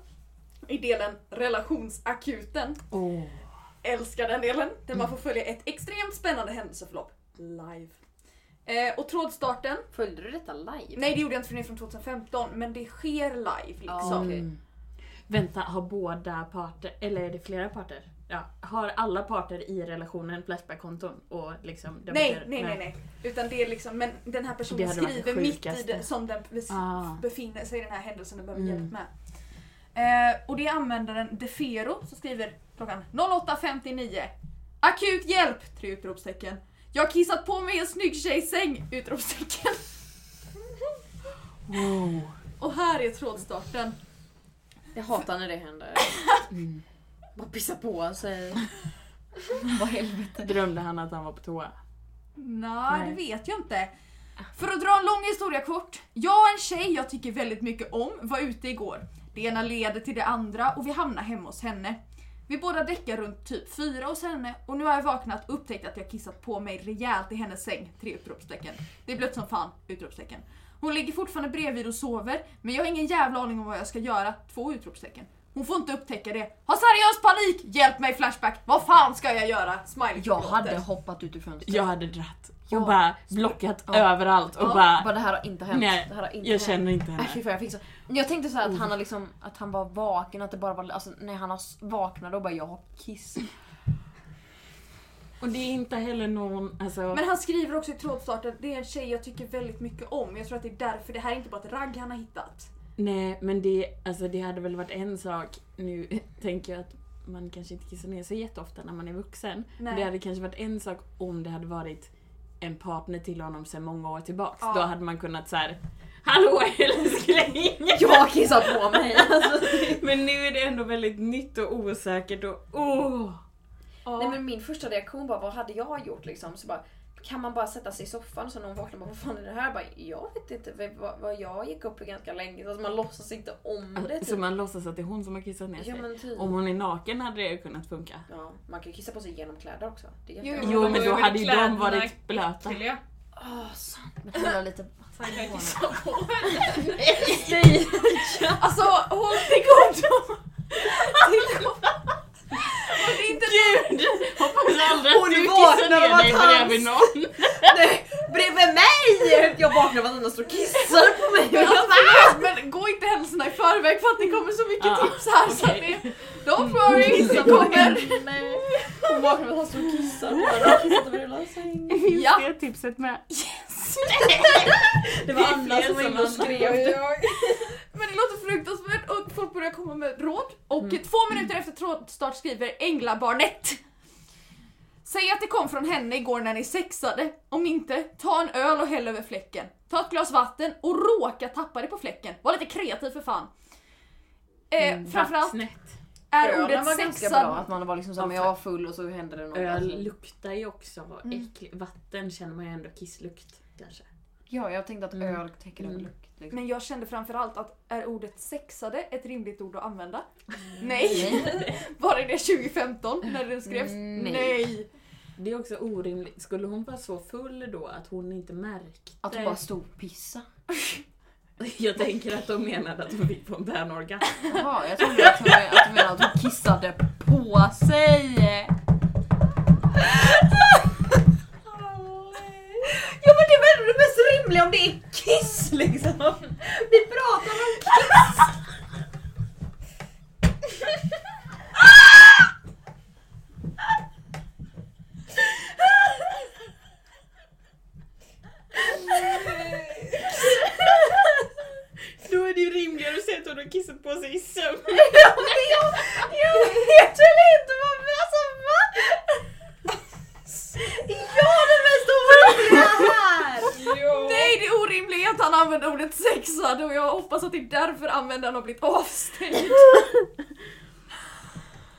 Speaker 2: I delen relationsakuten.
Speaker 5: Åh.
Speaker 2: Älskar den delen. Där man får följa ett extremt spännande händelseförlopp. Live. Eh, och trådstarten.
Speaker 1: Följde du detta live?
Speaker 2: Nej det gjorde jag inte för den är från 2015 men det sker live liksom.
Speaker 1: okej.
Speaker 5: Mm. Vänta, har båda parter, eller är det flera parter? Ja, har alla parter i relationen Flashback-konton? Och liksom
Speaker 2: Nej,
Speaker 5: debatterar-
Speaker 2: nej, nej, nej. Utan det är liksom, men den här
Speaker 5: Det
Speaker 2: personen
Speaker 5: hade varit det
Speaker 2: skriver mitt i
Speaker 5: sjukaste.
Speaker 2: det som den bes-
Speaker 5: Ah.
Speaker 2: befinner sig i den här händelsen och behöver
Speaker 5: Mm.
Speaker 2: hjälp med. Eh, och det är användaren Defero som skriver klockan 08.59 Akut hjälp! Tre utropstecken. Jag har kissat på mig en snygg tjejs säng! Utropstecken. [LAUGHS]
Speaker 5: Wow.
Speaker 2: Och här är trådstarten.
Speaker 1: Jag hatar när det händer. Mm. Bara pissa på sig. Vad helvete.
Speaker 5: Drömde han att han var på toa?
Speaker 2: Nej,
Speaker 5: Nej.
Speaker 2: det vet jag inte.
Speaker 1: Ah.
Speaker 2: För att dra en lång historia kort. Jag och en tjej jag tycker väldigt mycket om var ute igår. Det ena leder till det andra och vi hamnar hemma hos henne. Vi båda däckar runt typ fyra hos henne och nu har jag vaknat och upptäckt att jag kissat på mig rejält i hennes säng. Tre utropstecken. Det är blött som fan. Utropstecken. Hon ligger fortfarande bredvid och sover men jag har ingen jävla aning om vad jag ska göra. Två utropstecken. Hon får inte upptäcka det. Har seriös panik! Hjälp mig Flashback! Vad fan ska jag göra? Smiley
Speaker 1: Jag
Speaker 2: gråter.
Speaker 1: hade hoppat ut ur fönstret.
Speaker 5: Jag hade dratt och
Speaker 1: Ja.
Speaker 5: bara blockat
Speaker 1: Ja.
Speaker 5: överallt och bara,
Speaker 1: det här har inte hänt.
Speaker 5: nej,
Speaker 1: det här har inte
Speaker 5: jag
Speaker 1: hänt.
Speaker 5: känner inte henne.
Speaker 1: Äh, fy fan, jag, fick så... jag tänkte så här att han, har liksom, att han var vaken, att det bara var... Alltså, när han har s- vaknade och bara jag har kiss. [LAUGHS]
Speaker 5: Och det är inte heller någon, alltså,
Speaker 2: Men han skriver också i trådstarten, det är en tjej jag tycker väldigt mycket om. Jag tror att det är därför, det här är inte bara ett ragg han har hittat.
Speaker 5: nej men det, alltså, det hade väl varit en sak, nu [LAUGHS] tänker jag att man kanske inte kissar ner sig jätteofta när man är vuxen.
Speaker 2: Nej.
Speaker 5: Det hade kanske varit en sak om det hade varit en partner till honom sedan många år tillbaks.
Speaker 2: Ja.
Speaker 5: Då hade man kunnat så här. Hallå [LAUGHS] älskling!
Speaker 1: Jag har kissat på mig!
Speaker 5: Men nu är det ändå väldigt nytt och osäkert och åh!
Speaker 1: Nej men min första reaktion bara, vad hade jag gjort liksom? Så bara, kan man bara sätta sig i soffan så när hon vaknar bara, vad fan är det här? Bara, jag vet inte vad- vad, vad jag gick upp i ganska länge. Alltså, man låtsas inte om det. typ-
Speaker 5: Så man låtsas att det är hon som har kissat ner sig.
Speaker 1: Ja men typ.
Speaker 5: Om hon är naken hade det kunnat funka.
Speaker 1: Ja, man kan ju kissa på sig genom kläder också. Det är
Speaker 2: Jo,
Speaker 1: jättebra.
Speaker 5: Jo men
Speaker 6: då
Speaker 5: då
Speaker 6: är
Speaker 5: hade ju de
Speaker 6: kläderna
Speaker 5: varit blöta. [LAUGHS]
Speaker 6: Äckliga.
Speaker 1: Åh, sant. Men hälla [LAUGHS] lite
Speaker 6: Så han kan kissa.
Speaker 2: Alltså håll till godo! Till godo. Och det är inte
Speaker 5: Gud! Hoppas aldrig att
Speaker 1: Hon
Speaker 5: du kissar
Speaker 1: vaknar av
Speaker 5: ner dig
Speaker 1: att han-
Speaker 5: bredvid någon.
Speaker 1: Nej, bredvid mig! Jag vaknar av att andra står och kissar på mig.
Speaker 2: Men, alltså, förlåt, men gå inte händelserna i förväg för att det kommer så mycket
Speaker 5: Ja,
Speaker 2: tips här så att det... Don't worry, det kommer!
Speaker 1: Nej. Hon vaknar av att han står och kissar på henne. Jag kissade över hela sängen.
Speaker 2: Ja.
Speaker 5: Det är tipset med.
Speaker 1: [LAUGHS] Det var
Speaker 5: är
Speaker 1: Anna
Speaker 5: fler
Speaker 1: som var
Speaker 5: som
Speaker 1: inne och
Speaker 5: Anna.
Speaker 1: skrev det.
Speaker 2: Men det låter fruktansvärt och folk börjar komma med råd. Och
Speaker 1: Mm.
Speaker 2: två minuter efter trådstart skriver Änglabarnet. Säg att det kom från henne igår när ni sexade. Om inte, ta en öl och häll över fläcken. Ta ett glas vatten och råka tappa det på fläcken. Var lite kreativ för fan. Eh, framförallt
Speaker 5: Snett.
Speaker 2: är
Speaker 1: Mm, Ölen
Speaker 2: ordet
Speaker 1: var ganska bra,
Speaker 2: sexad...
Speaker 1: att man var liksom såhär, men jag var full och så hände det något.
Speaker 5: Öl
Speaker 1: Alltså.
Speaker 5: luktar ju också äckligt. Vatten känner man ju ändå kisslukt kanske.
Speaker 1: Ja, jag tänkte att öl täcker över lukt. Liksom.
Speaker 2: Men jag kände framförallt att är ordet sexade ett rimligt ord att använda?
Speaker 1: Mm.
Speaker 2: Nej! [LAUGHS] Var det det 2015 när det skrevs?
Speaker 1: Mm, Nej.
Speaker 2: Nej.
Speaker 5: Det är också orimligt. Skulle hon vara så full då att hon inte märkte?
Speaker 1: Att hon bara stod och pissade.
Speaker 5: [LAUGHS] Jag tänker att de menade att hon fick fontänorgasm.
Speaker 1: Jaha, jag trodde att hon, att hon menade att hon kissade på sig. Ja men det är väl det mest rimliga om det är kiss liksom. Vi pratar om kiss.
Speaker 5: Då är det ju rimligare att säga att hon har kissat på sig i sömnen.
Speaker 1: jag, jag vet väl inte vad vi... Alltså va? Jag är den mest orimliga här!
Speaker 6: Ja.
Speaker 2: Nej, det är orimligt att han använder ordet sexad och jag hoppas att det är därför användaren har blivit avstängd.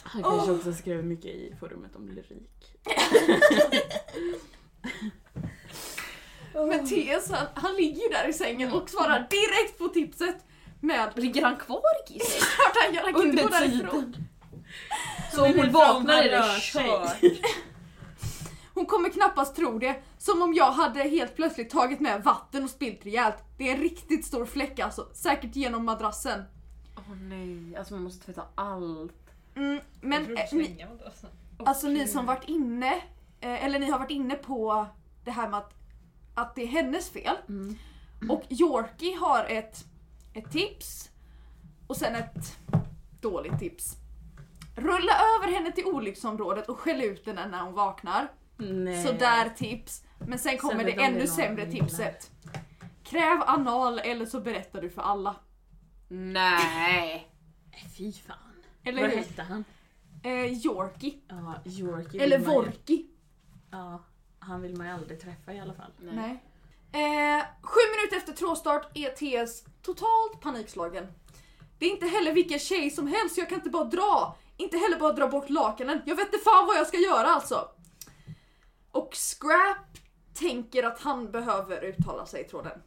Speaker 5: Han kanske också skrev mycket i forumet om lyrik.
Speaker 2: Men T.S. han, han ligger ju där i sängen och svarar direkt på tipset med
Speaker 1: Ligger han kvar i kisset?
Speaker 2: klart han gör, han kan inte gå
Speaker 1: Under
Speaker 2: därifrån.
Speaker 1: tiden. Så om hon
Speaker 5: Men
Speaker 1: vaknar är
Speaker 5: om han
Speaker 1: det
Speaker 5: rör sig.
Speaker 1: kört.
Speaker 2: Hon kommer knappast tro det, som om jag hade helt plötsligt tagit med vatten och spillt rejält. Det är en riktigt stor fläck alltså, säkert genom madrassen.
Speaker 1: Åh nej, alltså man måste tvätta allt.
Speaker 2: Mm,
Speaker 6: Jag
Speaker 2: men
Speaker 6: tror
Speaker 2: eh,
Speaker 6: de
Speaker 2: ni,
Speaker 6: slänger dem då, alltså.
Speaker 2: Alltså ni som varit inne, eh, eller ni har varit inne på det här med att, att det är hennes fel.
Speaker 5: Mm.
Speaker 2: Och Yorkie har ett, ett tips och sen ett dåligt tips. Rulla över henne till olycksområdet och skäll ut henne när hon vaknar.
Speaker 5: Nej.
Speaker 2: Sådär tips. Men sen kommer
Speaker 5: Eh. Sen vet
Speaker 2: det
Speaker 5: de det
Speaker 2: ännu
Speaker 5: någon
Speaker 2: sämre
Speaker 5: som gillar.
Speaker 2: tipset. Kräv anal eller så berättar du för alla.
Speaker 1: Nej.
Speaker 5: Fy fan.
Speaker 2: Eller
Speaker 5: Vad
Speaker 2: hur?
Speaker 5: hette han?
Speaker 2: Eh, Yorkie.
Speaker 5: Ja, Yorkie.
Speaker 2: Eller
Speaker 5: vill man ju-
Speaker 2: Vorki.
Speaker 5: Ja, han vill man ju aldrig träffa i alla fall.
Speaker 2: Nej. Eh, sju minuter efter trådstart är TS totalt panikslagen. Det är inte heller vilken tjej som helst, jag kan inte bara dra. Inte heller bara dra bort lakanen. Jag vet inte fan vad jag ska göra alltså. Och Scrap tänker att han behöver uttala sig i tråden.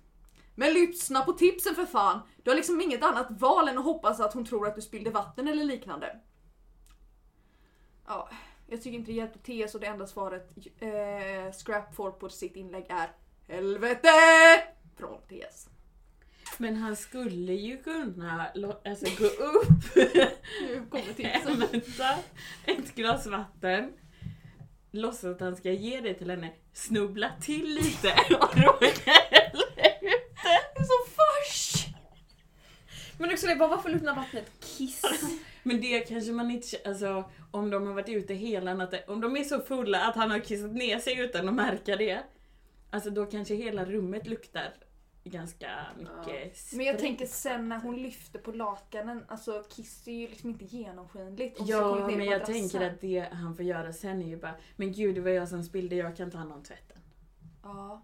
Speaker 2: Men lyssna på tipsen för fan. Du har liksom inget annat val än att hoppas att hon tror att du spillde vatten eller liknande. Ja, jag tycker inte det hjälpte T så det enda svaret eh, Scrap får på sitt inlägg är Helvete! Från TS.
Speaker 5: Men han skulle ju kunna lo- alltså, gå upp,
Speaker 2: Nu
Speaker 5: [LAUGHS]
Speaker 2: kommer TS.
Speaker 5: hämta ett glas vatten, låtsas att han ska ge det till henne, snubbla till lite [LAUGHS] och råka
Speaker 2: Det är så fars!
Speaker 1: Men också det, bara varför luktar vattnet kiss?
Speaker 5: Men det kanske man inte kä- alltså om de har varit ute hela natten, om de är så fulla att han har kissat ner sig utan att märka det. Alltså då kanske hela rummet luktar ganska mycket
Speaker 2: Men jag
Speaker 5: sprit.
Speaker 2: tänker sen när hon lyfter på lakanen, alltså kiss är ju liksom inte genomskinligt. Och så kommer det
Speaker 5: Ja
Speaker 2: ner
Speaker 5: men
Speaker 2: på
Speaker 5: jag
Speaker 2: adressen.
Speaker 5: tänker att det han får göra sen är ju bara Men gud det var jag som spillde, jag kan ta hand om tvätten.
Speaker 2: Ja.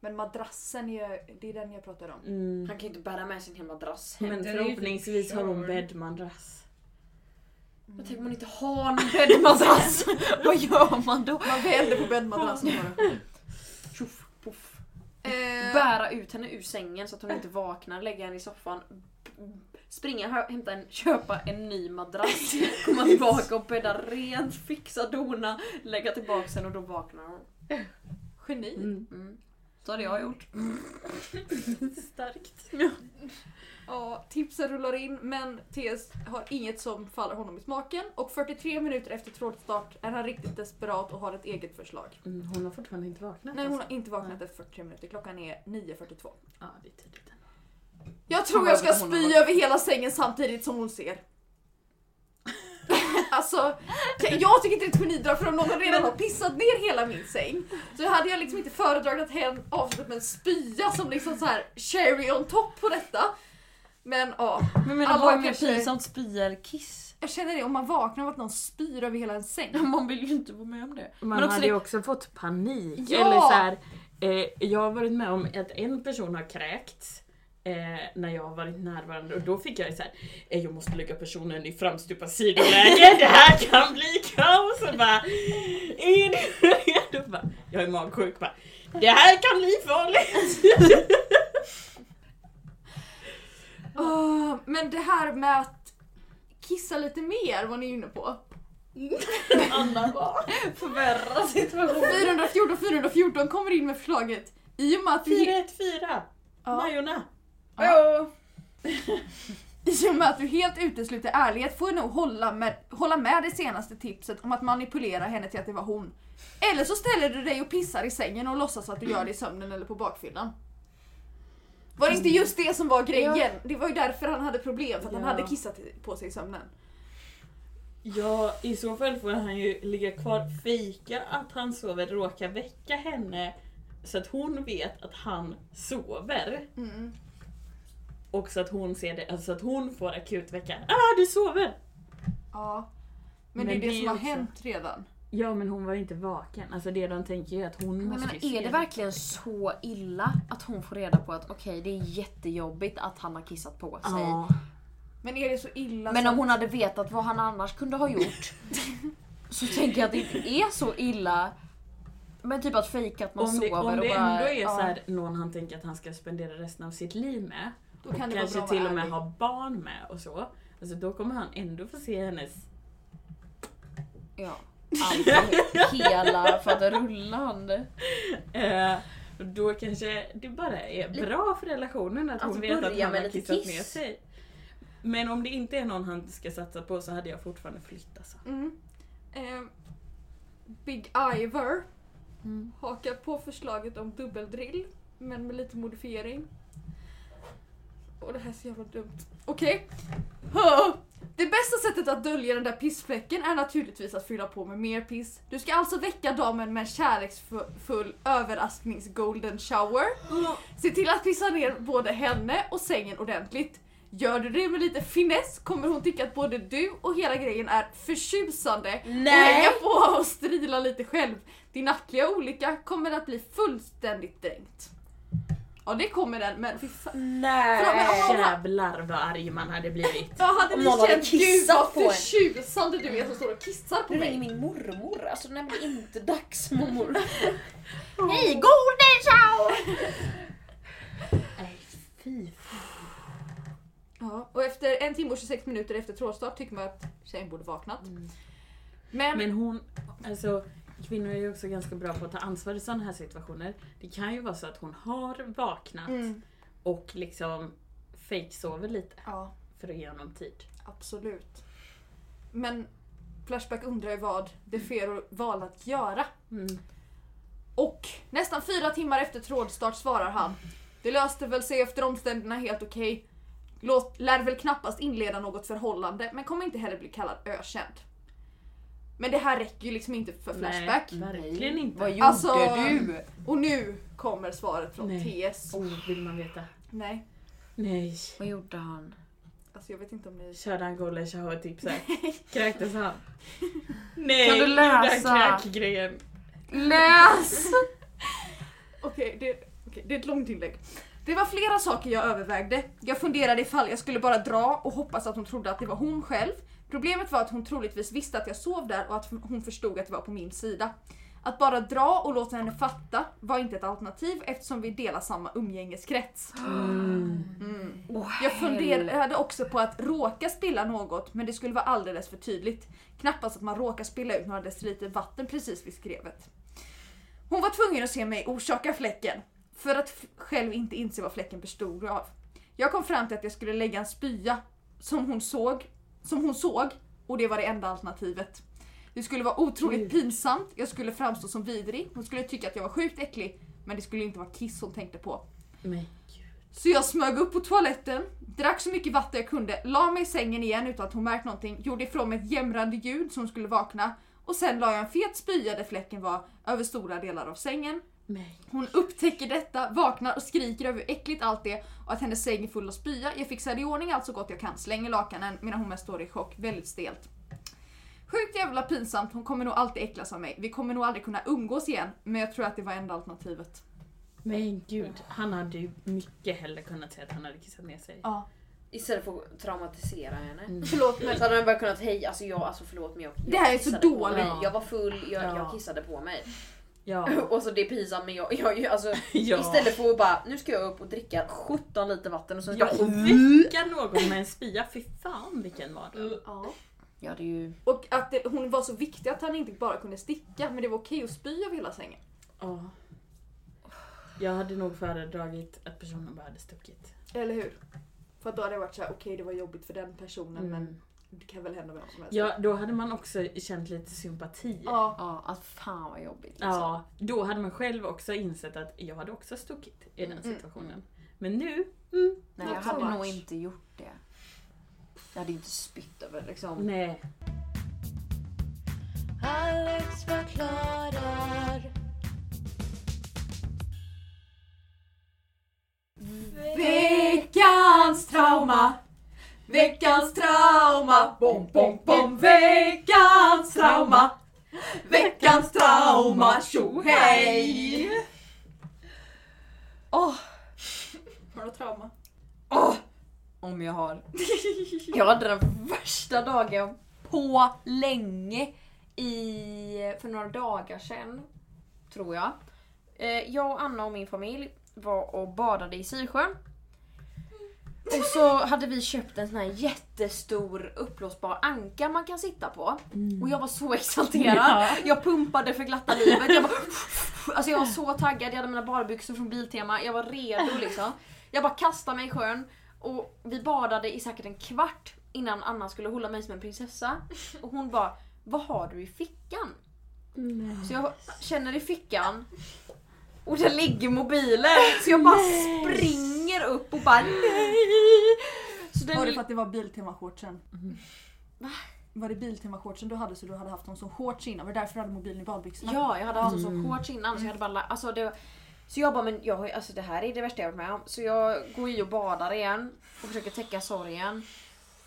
Speaker 2: Men madrassen, är, ju- det är den jag pratar om.
Speaker 5: Mm.
Speaker 1: Han kan ju inte bära med sin hemma madrass hem.
Speaker 5: Men
Speaker 6: Den är ju typ
Speaker 5: förhoppningsvis har hon
Speaker 6: körd.
Speaker 5: bäddmadrass.
Speaker 1: Men tänk om man inte har någon [LAUGHS] bäddmadrass? Vad gör man då?
Speaker 2: Man vänder på bäddmadrassen
Speaker 5: [LAUGHS]
Speaker 2: bara.
Speaker 1: Tjoff, poff.
Speaker 2: Eh,
Speaker 1: Bära ut henne ur sängen så att hon inte vaknar, lägga henne i soffan, b- springa, hö- hämta en, köpa en ny [LAUGHS] madrass, komma tillbaka och bädda rent, fixa, dona, lägga tillbaka henne och då vaknar hon.
Speaker 2: geni.
Speaker 5: Mm.
Speaker 1: Mm. Så hade jag gjort.
Speaker 5: Starkt.
Speaker 2: Ja, tipsen rullar in men TS har inget som faller honom i smaken och 43 minuter efter trådstart är han riktigt desperat och har ett eget förslag.
Speaker 5: Mm, hon har fortfarande inte vaknat.
Speaker 2: Nej, hon
Speaker 5: alltså.
Speaker 2: har inte vaknat efter 43 minuter. Klockan är 9.42.
Speaker 5: Ja det är tidigt ändå.
Speaker 2: Jag tror jag ska spy över hela sängen samtidigt som hon ser. [LAUGHS] alltså, jag tycker inte det är ett genidrag för om någon redan har pissat ner hela min säng så hade jag liksom inte föredragit att hen avslutar med en spya som liksom så här cherry on top på detta. Men ja.
Speaker 1: Men
Speaker 2: menar, vad är mer pinsamt,
Speaker 1: spya eller kiss?
Speaker 2: Jag känner det, om man vaknar av att någon spyr över hela en säng. [LAUGHS]
Speaker 1: Man vill ju inte vara med om det.
Speaker 5: Man
Speaker 1: Men också
Speaker 5: hade ju
Speaker 1: det-
Speaker 5: också fått panik.
Speaker 2: Ja!
Speaker 5: Eller så här, eh, jag har varit med om att en person har kräkts eh, när jag har varit närvarande och då fick jag ju så här, eh, jag måste lägga personen i framstupa sidoläge, det här kan bli kaos! Och bara, är du redo? Bara, Jag är magsjuk bara, det här kan bli farligt!
Speaker 2: Åh, Ah, men det här med att kissa lite mer var ni inne på.
Speaker 5: Anna var.
Speaker 1: Förvärra situationen.
Speaker 2: 414 414 kommer in med förslaget i och med att det gick
Speaker 5: 414,
Speaker 2: Ja.
Speaker 5: Majorna.
Speaker 2: I och med att du helt utesluter ärlighet får jag nog hålla med, hålla med det senaste tipset om att manipulera henne till att det var hon. Eller så ställer du dig och pissar i sängen och låtsas att du gör det i sömnen eller på bakfyllan. Var det inte just det som var grejen? Det var ju därför han hade problem, för att
Speaker 5: Ja.
Speaker 2: han hade kissat på sig i sömnen.
Speaker 5: Ja, i så fall får han ju ligga kvar, fejka att han sover, råka väcka henne så att hon vet att han sover.
Speaker 2: Mm.
Speaker 5: Och så att hon ser det, alltså så att hon får akut väcka. Ah, du sover!
Speaker 2: Ja. Men,
Speaker 5: Men
Speaker 2: det är det,
Speaker 5: det är
Speaker 2: som har
Speaker 5: också-
Speaker 2: hänt redan.
Speaker 5: Ja, men hon var inte vaken. Alltså det de tänker är att hon
Speaker 1: Men,
Speaker 5: måste
Speaker 1: men
Speaker 5: ju
Speaker 1: är
Speaker 5: se
Speaker 1: det verkligen så illa att hon får reda på att okej det är jättejobbigt att han har kissat på sig.
Speaker 5: Ja.
Speaker 2: Men är det så illa
Speaker 1: Men
Speaker 2: så...
Speaker 1: om hon hade vetat vad han annars kunde ha gjort så tänker jag att det inte är så illa. Men typ att fejka att man
Speaker 5: Om det,
Speaker 1: sover
Speaker 5: om
Speaker 1: och
Speaker 5: det
Speaker 1: bara...
Speaker 5: ändå är
Speaker 1: ja.
Speaker 5: så här, någon han tänker att han ska spendera resten av sitt liv med.
Speaker 2: Då kan det vara
Speaker 5: kanske
Speaker 2: bra att
Speaker 5: till
Speaker 2: vara
Speaker 5: och med
Speaker 2: ärlig.
Speaker 5: ha barn med och så. Alltså då kommer han ändå få se hennes...
Speaker 1: Ja. Allt hela för att rulla han det.
Speaker 5: Eh, och då kanske det bara är bra för relationen att
Speaker 1: Alltså,
Speaker 5: hon vet att
Speaker 1: börja
Speaker 5: han
Speaker 1: med
Speaker 5: har
Speaker 1: lite
Speaker 5: kissat
Speaker 1: kiss.
Speaker 5: ner sig. Men om det inte är någon han ska satsa på så hade jag fortfarande flyttat. Så.
Speaker 2: Mm. Eh, Big Iver
Speaker 5: Mm.
Speaker 2: hakar på förslaget om dubbeldrill, men med lite modifiering. Och det här är så jävla dumt. Okej. Hö! Det bästa sättet att dölja den där pissfläcken är naturligtvis att fylla på med mer piss. Du ska alltså väcka damen med en kärleksfull överrasknings-golden shower. Se till att pissa ner både henne och sängen ordentligt. Gör du det med lite finess kommer hon tycka att både du och hela grejen är förtjusande Eh, och hänga på och strila lite själv. Din nackliga olycka kommer att bli fullständigt dränkt. Ja det kommer den men fy fan.
Speaker 5: Nej!
Speaker 2: Förlåt, men om någon-
Speaker 5: Jävlar vad arg man hade blivit.
Speaker 2: Alltså, Ja, hade
Speaker 1: Om
Speaker 2: ni
Speaker 1: någon hade
Speaker 2: känt gud
Speaker 1: kissat
Speaker 2: vad
Speaker 1: på en."
Speaker 2: förtjusande du är som står och kissar på
Speaker 1: Nu ringer
Speaker 2: mig.
Speaker 1: min mormor, alltså den är inte dags mormor.
Speaker 7: Hej, gode ciao!
Speaker 5: Nej, fy.
Speaker 1: Mm.
Speaker 2: Ja, och efter en timme och 26 minuter efter trådstart tycker man att tjejen borde vaknat.
Speaker 1: Men,
Speaker 5: Men hon, alltså kvinnor är ju också ganska bra på att ta ansvar i sådana här situationer. Det kan ju vara så att hon har vaknat
Speaker 2: Mm.
Speaker 5: och liksom fejksover lite
Speaker 2: Ja,
Speaker 5: för att ge honom tid.
Speaker 2: absolut. Men Flashback undrar ju vad det Fero valde att göra.
Speaker 5: Mm.
Speaker 2: Och nästan fyra timmar efter trådstart svarar han. Det löste väl sig efter omständigheterna helt okej. Låt, lär väl knappast inleda något förhållande men kommer inte heller bli kallad ökänd. Men det här räcker ju liksom inte för Flashback.
Speaker 5: Nej, Mm. verkligen inte.
Speaker 1: vad gjorde
Speaker 2: Alltså-
Speaker 1: du?
Speaker 2: Och nu kommer svaret från
Speaker 5: Nej.
Speaker 2: TS.
Speaker 5: Oh, vill man veta?
Speaker 2: Nej,
Speaker 5: Nej.
Speaker 1: Vad gjorde han?
Speaker 2: alltså jag vet inte om ni...
Speaker 5: Körde han Golesh och tips här? Kräktes [LAUGHS] han?
Speaker 1: Kan
Speaker 5: Nej,
Speaker 1: du läsa?
Speaker 5: gjorde han kräkgrejen?
Speaker 1: Läs!
Speaker 2: Okej, det, okej, det är ett långt inlägg. Det var flera saker jag övervägde. Jag funderade ifall jag skulle bara dra och hoppas att hon trodde att det var hon själv. Problemet var att hon troligtvis visste att jag sov där och att hon förstod att det var på min sida. Att bara dra och låta henne fatta var inte ett alternativ eftersom vi delar samma umgängeskrets. Mm. Jag funderade också på att råka spilla något men det skulle vara alldeles för tydligt. Knappast att man råkar spilla ut några deciliter vatten precis vid skrevet. Hon var tvungen att se mig orsaka fläcken för att f- själv inte inse vad fläcken bestod av. Jag kom fram till att jag skulle lägga en spya som hon såg, som hon såg och det var det enda alternativet. Det skulle vara otroligt pinsamt, jag skulle framstå som vidrig, hon skulle tycka att jag var sjukt äcklig men det skulle inte vara kiss hon tänkte på.
Speaker 5: Nej.
Speaker 2: Så jag smög upp på toaletten, drack så mycket vatten jag kunde, la mig i sängen igen utan att hon märkt någonting, gjorde ifrån mig ett jämrande ljud så hon skulle vakna och sen la jag en fet spya där fläcken var över stora delar av sängen.
Speaker 5: Nej.
Speaker 2: Hon upptäcker detta, vaknar och skriker över hur äckligt allt är och att hennes säng är full av spya. Jag fixar i ordning allt så gott jag kan, slänger lakanen medan hon mest står i chock, väldigt stelt. Sjukt jävla pinsamt, hon kommer nog alltid äcklas av mig. Vi kommer nog aldrig kunna umgås igen, men jag tror att det var enda alternativet.
Speaker 5: Men gud, han hade ju mycket hellre kunnat säga att han hade kissat ner sig.
Speaker 1: Istället för att traumatisera henne.
Speaker 4: Mm.
Speaker 2: Förlåt
Speaker 1: Men så hade han bara kunnat hej, alltså jag, alltså förlåt men jag, jag
Speaker 2: Det här är så
Speaker 1: kissade på
Speaker 2: dåligt.
Speaker 1: mig. Jag var full, jag,
Speaker 5: Ja.
Speaker 1: jag kissade på mig. [LAUGHS]
Speaker 5: Ja.
Speaker 1: Och så det är pinsamt men jag, jag, jag alltså
Speaker 5: ja.
Speaker 1: istället för att bara nu ska jag upp och dricka 17 liter vatten och sen ska
Speaker 5: Ja,
Speaker 1: jag...
Speaker 5: och väcka någon med en spya. Fy fan vilken mardröm.
Speaker 1: Ja det är ju...
Speaker 2: Och att det, hon var så viktig att han inte bara kunde sticka men det var okej att spy över hela sängen.
Speaker 5: Ja. Jag hade nog föredragit att personen bara hade stuckit.
Speaker 2: Eller hur? För att då hade det varit så här: okej det var jobbigt för den personen men
Speaker 5: Men
Speaker 2: det kan väl hända vem som helst.
Speaker 5: Mm. ja, då hade man också känt lite sympati.
Speaker 2: Ja.
Speaker 1: Ja, alltså, fan vad jobbigt. Liksom.
Speaker 5: Ja, då hade man själv också insett att jag hade också stuckit i
Speaker 2: Mm,
Speaker 5: den situationen. Men nu, mm,
Speaker 1: Nej jag
Speaker 2: Not so
Speaker 1: hade
Speaker 2: much.
Speaker 1: nog inte gjort det. Jag hade inte spytt över liksom.
Speaker 5: nej.
Speaker 3: Alex förklarar.
Speaker 2: Veckans trauma! Veckans trauma! Bom, bom, bom! Veckans trauma! Veckans trauma! Tjo hej!
Speaker 1: Åh,
Speaker 2: Har du något trauma?
Speaker 1: om jag har. Jag hade den värsta dagen på länge i, för några dagar sedan. Tror jag. Eh, Jag och Anna och min familj var och badade i Sisjön. Och så hade vi köpt en sån här jättestor uppblåsbar anka man kan sitta på. Och jag var så exalterad. Jag pumpade för glatta livet. Jag, bara, alltså jag var så taggad, jag hade mina badbyxor från Biltema. Jag var redo liksom. Jag bara kastade mig i sjön och vi badade i säkert en kvart innan Anna skulle hålla mig som en prinsessa. Och hon bara, vad har du i fickan? Så jag känner i fickan och där ligger mobilen. Så jag bara springer upp och bara nej. Så den
Speaker 2: Var det för att det var Biltema-shortsen? Var det Biltema-shortsen du hade så du hade haft dem som shorts innan? Var det därför du hade mobilen i badbyxorna?
Speaker 1: Ja, jag hade haft mm. som shorts innan så jag hade bara la- alltså det, Så jag bara, men jag, har ju- alltså det här är det värsta jag varit med om. Så jag går i och badar igen och försöker täcka sorgen.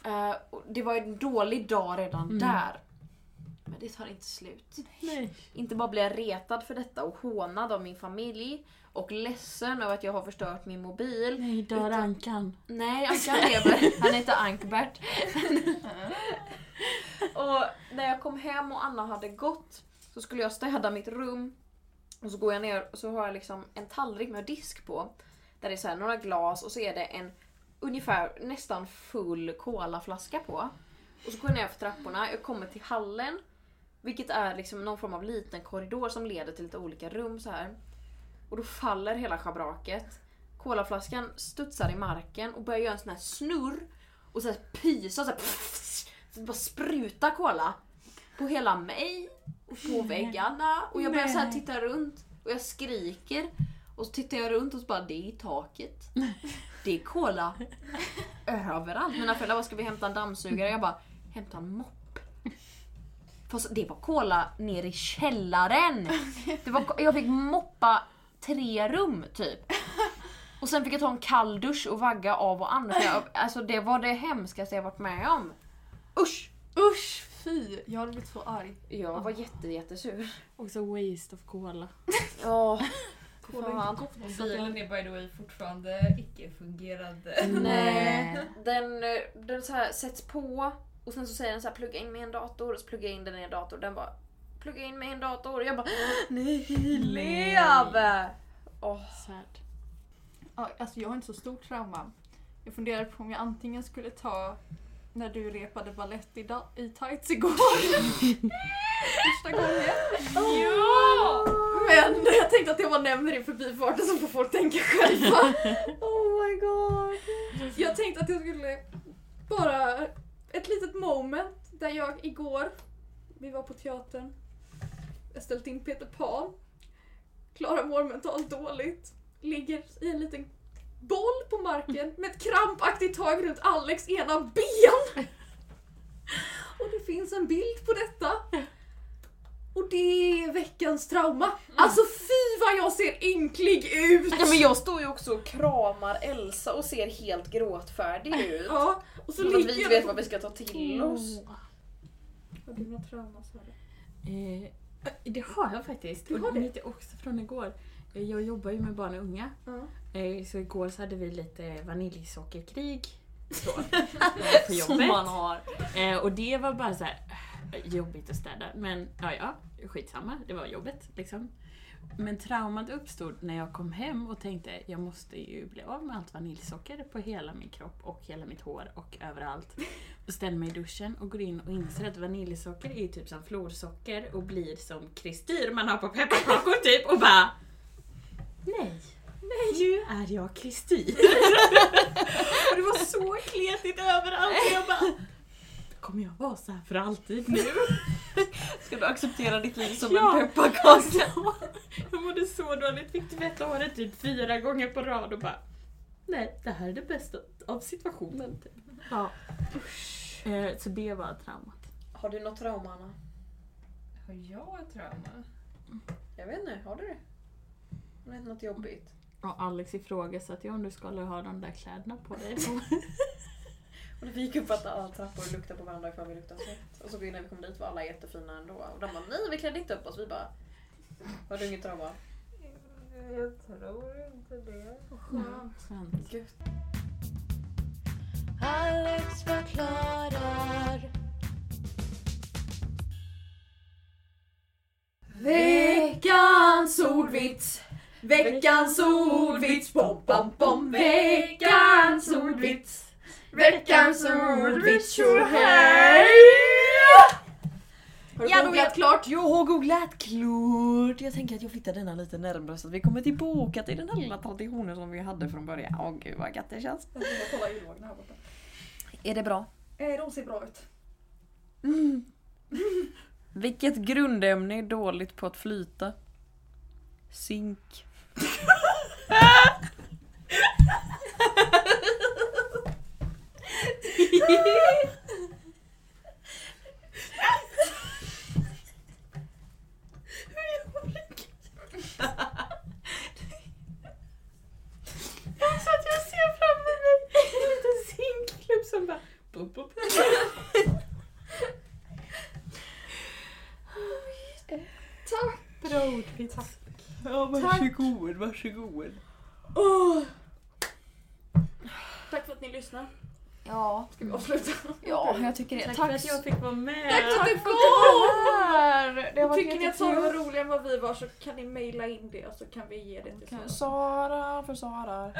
Speaker 1: Eh, och det var en dålig dag redan där. Men det tar inte slut.
Speaker 5: Nej.
Speaker 1: Inte bara blir jag retad för detta och hånad av min familj och ledsen över att jag har förstört min mobil.
Speaker 5: Nej, dör ankan.
Speaker 1: Nej, Ankan lever. Han heter Ankbert. [LAUGHS] och när jag kom hem och Anna hade gått så skulle jag städa mitt rum. Och så går jag ner och så har jag liksom en tallrik med disk på. Där det är så här några glas och så är det en ungefär nästan full colaflaska på. Och så går jag ner för trapporna, jag kommer till hallen. Vilket är liksom någon form av liten korridor som leder till lite olika rum så här. Och då faller hela schabraket. Kolaflaskan studsar i marken och börjar göra en sån här snurr. Och så här pysa så här, pff, så det bara spruta kola. På hela mig och på väggarna. Och jag börjar så här titta runt och jag skriker. Och så tittar jag runt och så bara, det är i taket. Det är kola överallt. Mina föräldrar bara, ska vi hämta en dammsugare? Jag bara, hämta en mopp. Fast det var kola ner i källaren. Det var, jag fick moppa tre rum typ. Och sen fick jag ta en kall dusch och vagga av och an. För jag- Alltså det var det hemskaste jag varit med om. Usch!
Speaker 2: Usch fy, jag hade blivit så arg.
Speaker 1: Jag var jätte, jättesur.
Speaker 5: Också waste of cola.
Speaker 1: Ja,
Speaker 6: Och bilen är by the way fortfarande icke-fungerande.
Speaker 1: Nej. [LAUGHS] Den, eh, den så här sätts på och sen så säger den så här plugga in med en dator och så pluggar jag in den i en dator. Den bara plugga in med en dator och jag bara [GASPS] nej, lev! Åh,
Speaker 5: Sad.
Speaker 2: Ja, Alltså jag har inte så stort trauma. Jag funderar på om jag antingen skulle ta när du repade ballett i, da- i tights igår. [LAUGHS] Första gången. Ja! Men jag tänkte att jag bara nämner det i förbifarten så får folk tänka själva. [LAUGHS] oh my god. Jag tänkte att jag skulle bara ett litet moment där jag igår, vi var på teatern, jag ställt in Peter Pan. Klara mår mentalt dåligt ligger i en liten boll på marken med ett krampaktigt tag runt Alex ena ben. Och det finns en bild på detta. Och det är veckans trauma. Alltså fy vad jag ser ynklig ut!
Speaker 1: Ja, men jag står ju också och kramar Elsa och ser helt gråtfärdig ut.
Speaker 2: Ja, och så
Speaker 1: Så att vi
Speaker 2: ligger
Speaker 1: inte vet vad vi ska ta till
Speaker 4: Mm.
Speaker 1: oss.
Speaker 2: Har du något trauma sa du?
Speaker 5: Eh, det har jag faktiskt.
Speaker 2: Du har
Speaker 5: och
Speaker 2: det?
Speaker 5: mitt är också från igår. Eh, Jag jobbar ju med barn och unga.
Speaker 2: Ja.
Speaker 5: Eh, Så igår så hade vi lite
Speaker 2: [LAUGHS]
Speaker 5: vaniljsockerkrig. Så, eh,
Speaker 7: Som
Speaker 5: på jobbet.
Speaker 7: man har.
Speaker 5: Eh, och det var bara så här eh, jobbigt att städa. Men ja, ja, skitsamma. Det var jobbet liksom. Men traumat uppstod när jag kom hem och tänkte jag måste ju bli av med allt vaniljsocker på hela min kropp och hela mitt hår och överallt. Och ställer mig i duschen och går in och inser att vaniljsocker är ju typ som florsocker och blir som kristyr man har på pepparkakor typ och bara Nej, nej nu är jag kristyr. [LAUGHS] och det var så kletigt överallt och jag bara Kommer jag vara så här för alltid [LAUGHS] nu?
Speaker 7: Ska du acceptera ditt liv som
Speaker 5: Ja.
Speaker 7: en
Speaker 1: [LAUGHS]
Speaker 7: pepparkaka?
Speaker 5: [LAUGHS] Så- jag mådde så dåligt, fick tvätta håret typ fyra gånger på rad och bara Nej, det här är det bästa av situationen. Typ. Ja. Eh, så det var traumat.
Speaker 1: Har du något trauma Anna?
Speaker 6: Har jag ett trauma?
Speaker 1: Jag vet inte, har du det? Har du något jobbigt?
Speaker 5: Och Alex ifrågasatte ju om du skulle ha de där kläderna på [LAUGHS] dig.
Speaker 1: Och vi gick upp att alla trappor och luktade på varandra ifall vi luktade svett. Och så när vi kom dit var alla jättefina ändå. Och de bara nej vi klädde inte upp oss. Vi bara har du inget trauma?
Speaker 6: Jag tror inte det.
Speaker 5: Skönt.
Speaker 3: Alex förklarar.
Speaker 2: Veckans ordvits! Veckans ordvits! Bom, bom, bom. Veckans ordvits! Veckans ordvits! Tjo hej! Har du
Speaker 7: Ja, då
Speaker 2: googlat klart?
Speaker 7: Jag har googlat klart. Jag tänker att jag flyttar denna lite närmare så att vi kommer tillbaka till den här lilla traditionen som vi hade från början. Åh gud vad gött det känns.
Speaker 2: Kolla urvågorna här borta.
Speaker 7: Är det bra?
Speaker 2: Eh, de ser bra ut.
Speaker 7: Vilket grundämne är dåligt på att flyta? Zink.
Speaker 5: Så att jag ser framför mig en liten zinkklubb som bara bup, bup. Tack! Bra ordvits.
Speaker 7: Ja, varsågod, varsågod.
Speaker 2: Tack för att ni lyssnar.
Speaker 1: Ja,
Speaker 2: Ska vi avsluta?
Speaker 1: ja jag tycker det.
Speaker 5: Tack,
Speaker 1: Tack,
Speaker 5: för att jag fick vara med.
Speaker 2: Tack för att ni
Speaker 1: Det
Speaker 2: kom!
Speaker 1: var
Speaker 2: Tycker ni att Sara var
Speaker 1: jättekul.
Speaker 2: roligare än vad vi var så kan ni mejla in det så kan vi ge det till Sara.
Speaker 1: Sara för Sara.
Speaker 5: Mm.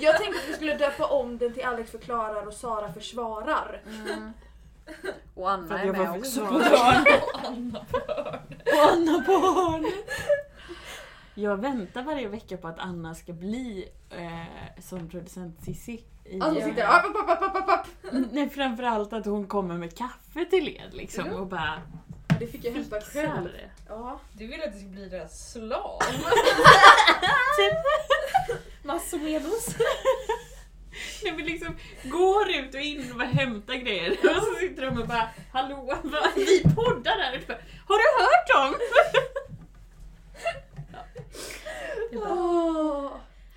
Speaker 2: Jag tänkte att vi skulle döpa om den till Alex förklarar och Sara försvarar.
Speaker 4: Och
Speaker 5: För
Speaker 4: Anna
Speaker 5: att
Speaker 4: är
Speaker 5: jag
Speaker 4: med
Speaker 5: var
Speaker 4: också.
Speaker 5: också [LAUGHS] på hörn.
Speaker 6: Anna på hörn.
Speaker 5: Och Anna på hörn. Jag väntar varje vecka på att Anna ska bli eh, som producent Cissi. i- eh,
Speaker 9: Alltså sitter jag upp, upp, upp, upp, upp, upp.
Speaker 5: Nej, framförallt att hon kommer med kaffe till er liksom och bara
Speaker 2: Det fick jag hämta
Speaker 5: fixar
Speaker 2: själv.
Speaker 5: det.
Speaker 2: Ja.
Speaker 6: Du vill att du ska bli deras slav.
Speaker 2: Massor med oss.
Speaker 5: Nej, men liksom går ut och in och hämtar grejer [LAUGHS] och så sitter de och bara hallå, [LAUGHS] vad- vi poddar här ute. Har du hört dem?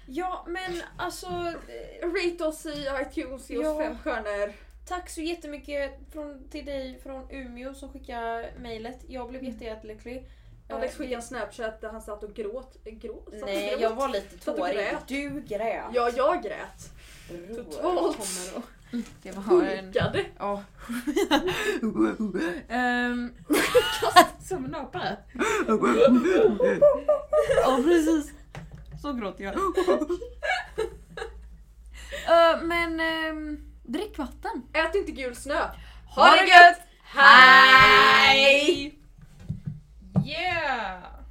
Speaker 2: Ja men alltså, eh, rate oss i iTunes, ge oss
Speaker 4: Ja.
Speaker 2: fem stjärnor.
Speaker 4: Tack så jättemycket från, till dig från Umeå som skickade mejlet. Jag
Speaker 1: Mm.
Speaker 4: blev jätte, jättelycklig.
Speaker 2: Alex
Speaker 4: Eh,
Speaker 2: skickade en snapchat där han satt och gråt. eh, gråt? Satt och
Speaker 4: Nej,
Speaker 2: grät.
Speaker 4: jag var lite
Speaker 2: Satt och
Speaker 4: tårig.
Speaker 2: grät.
Speaker 4: Du grät.
Speaker 2: Ja, jag grät.
Speaker 4: Bror,
Speaker 2: totalt.
Speaker 4: kommer och-
Speaker 1: Det var en...
Speaker 2: Hulkade.
Speaker 1: Ja. Ehm.
Speaker 5: Um, som en apa.
Speaker 1: Ja precis. Så gråter
Speaker 5: [LAUGHS]
Speaker 1: jag. Eh, men ehm, drick vatten.
Speaker 2: Ät inte gul snö.
Speaker 1: Ha det gött!
Speaker 2: Hej!
Speaker 6: Yeah!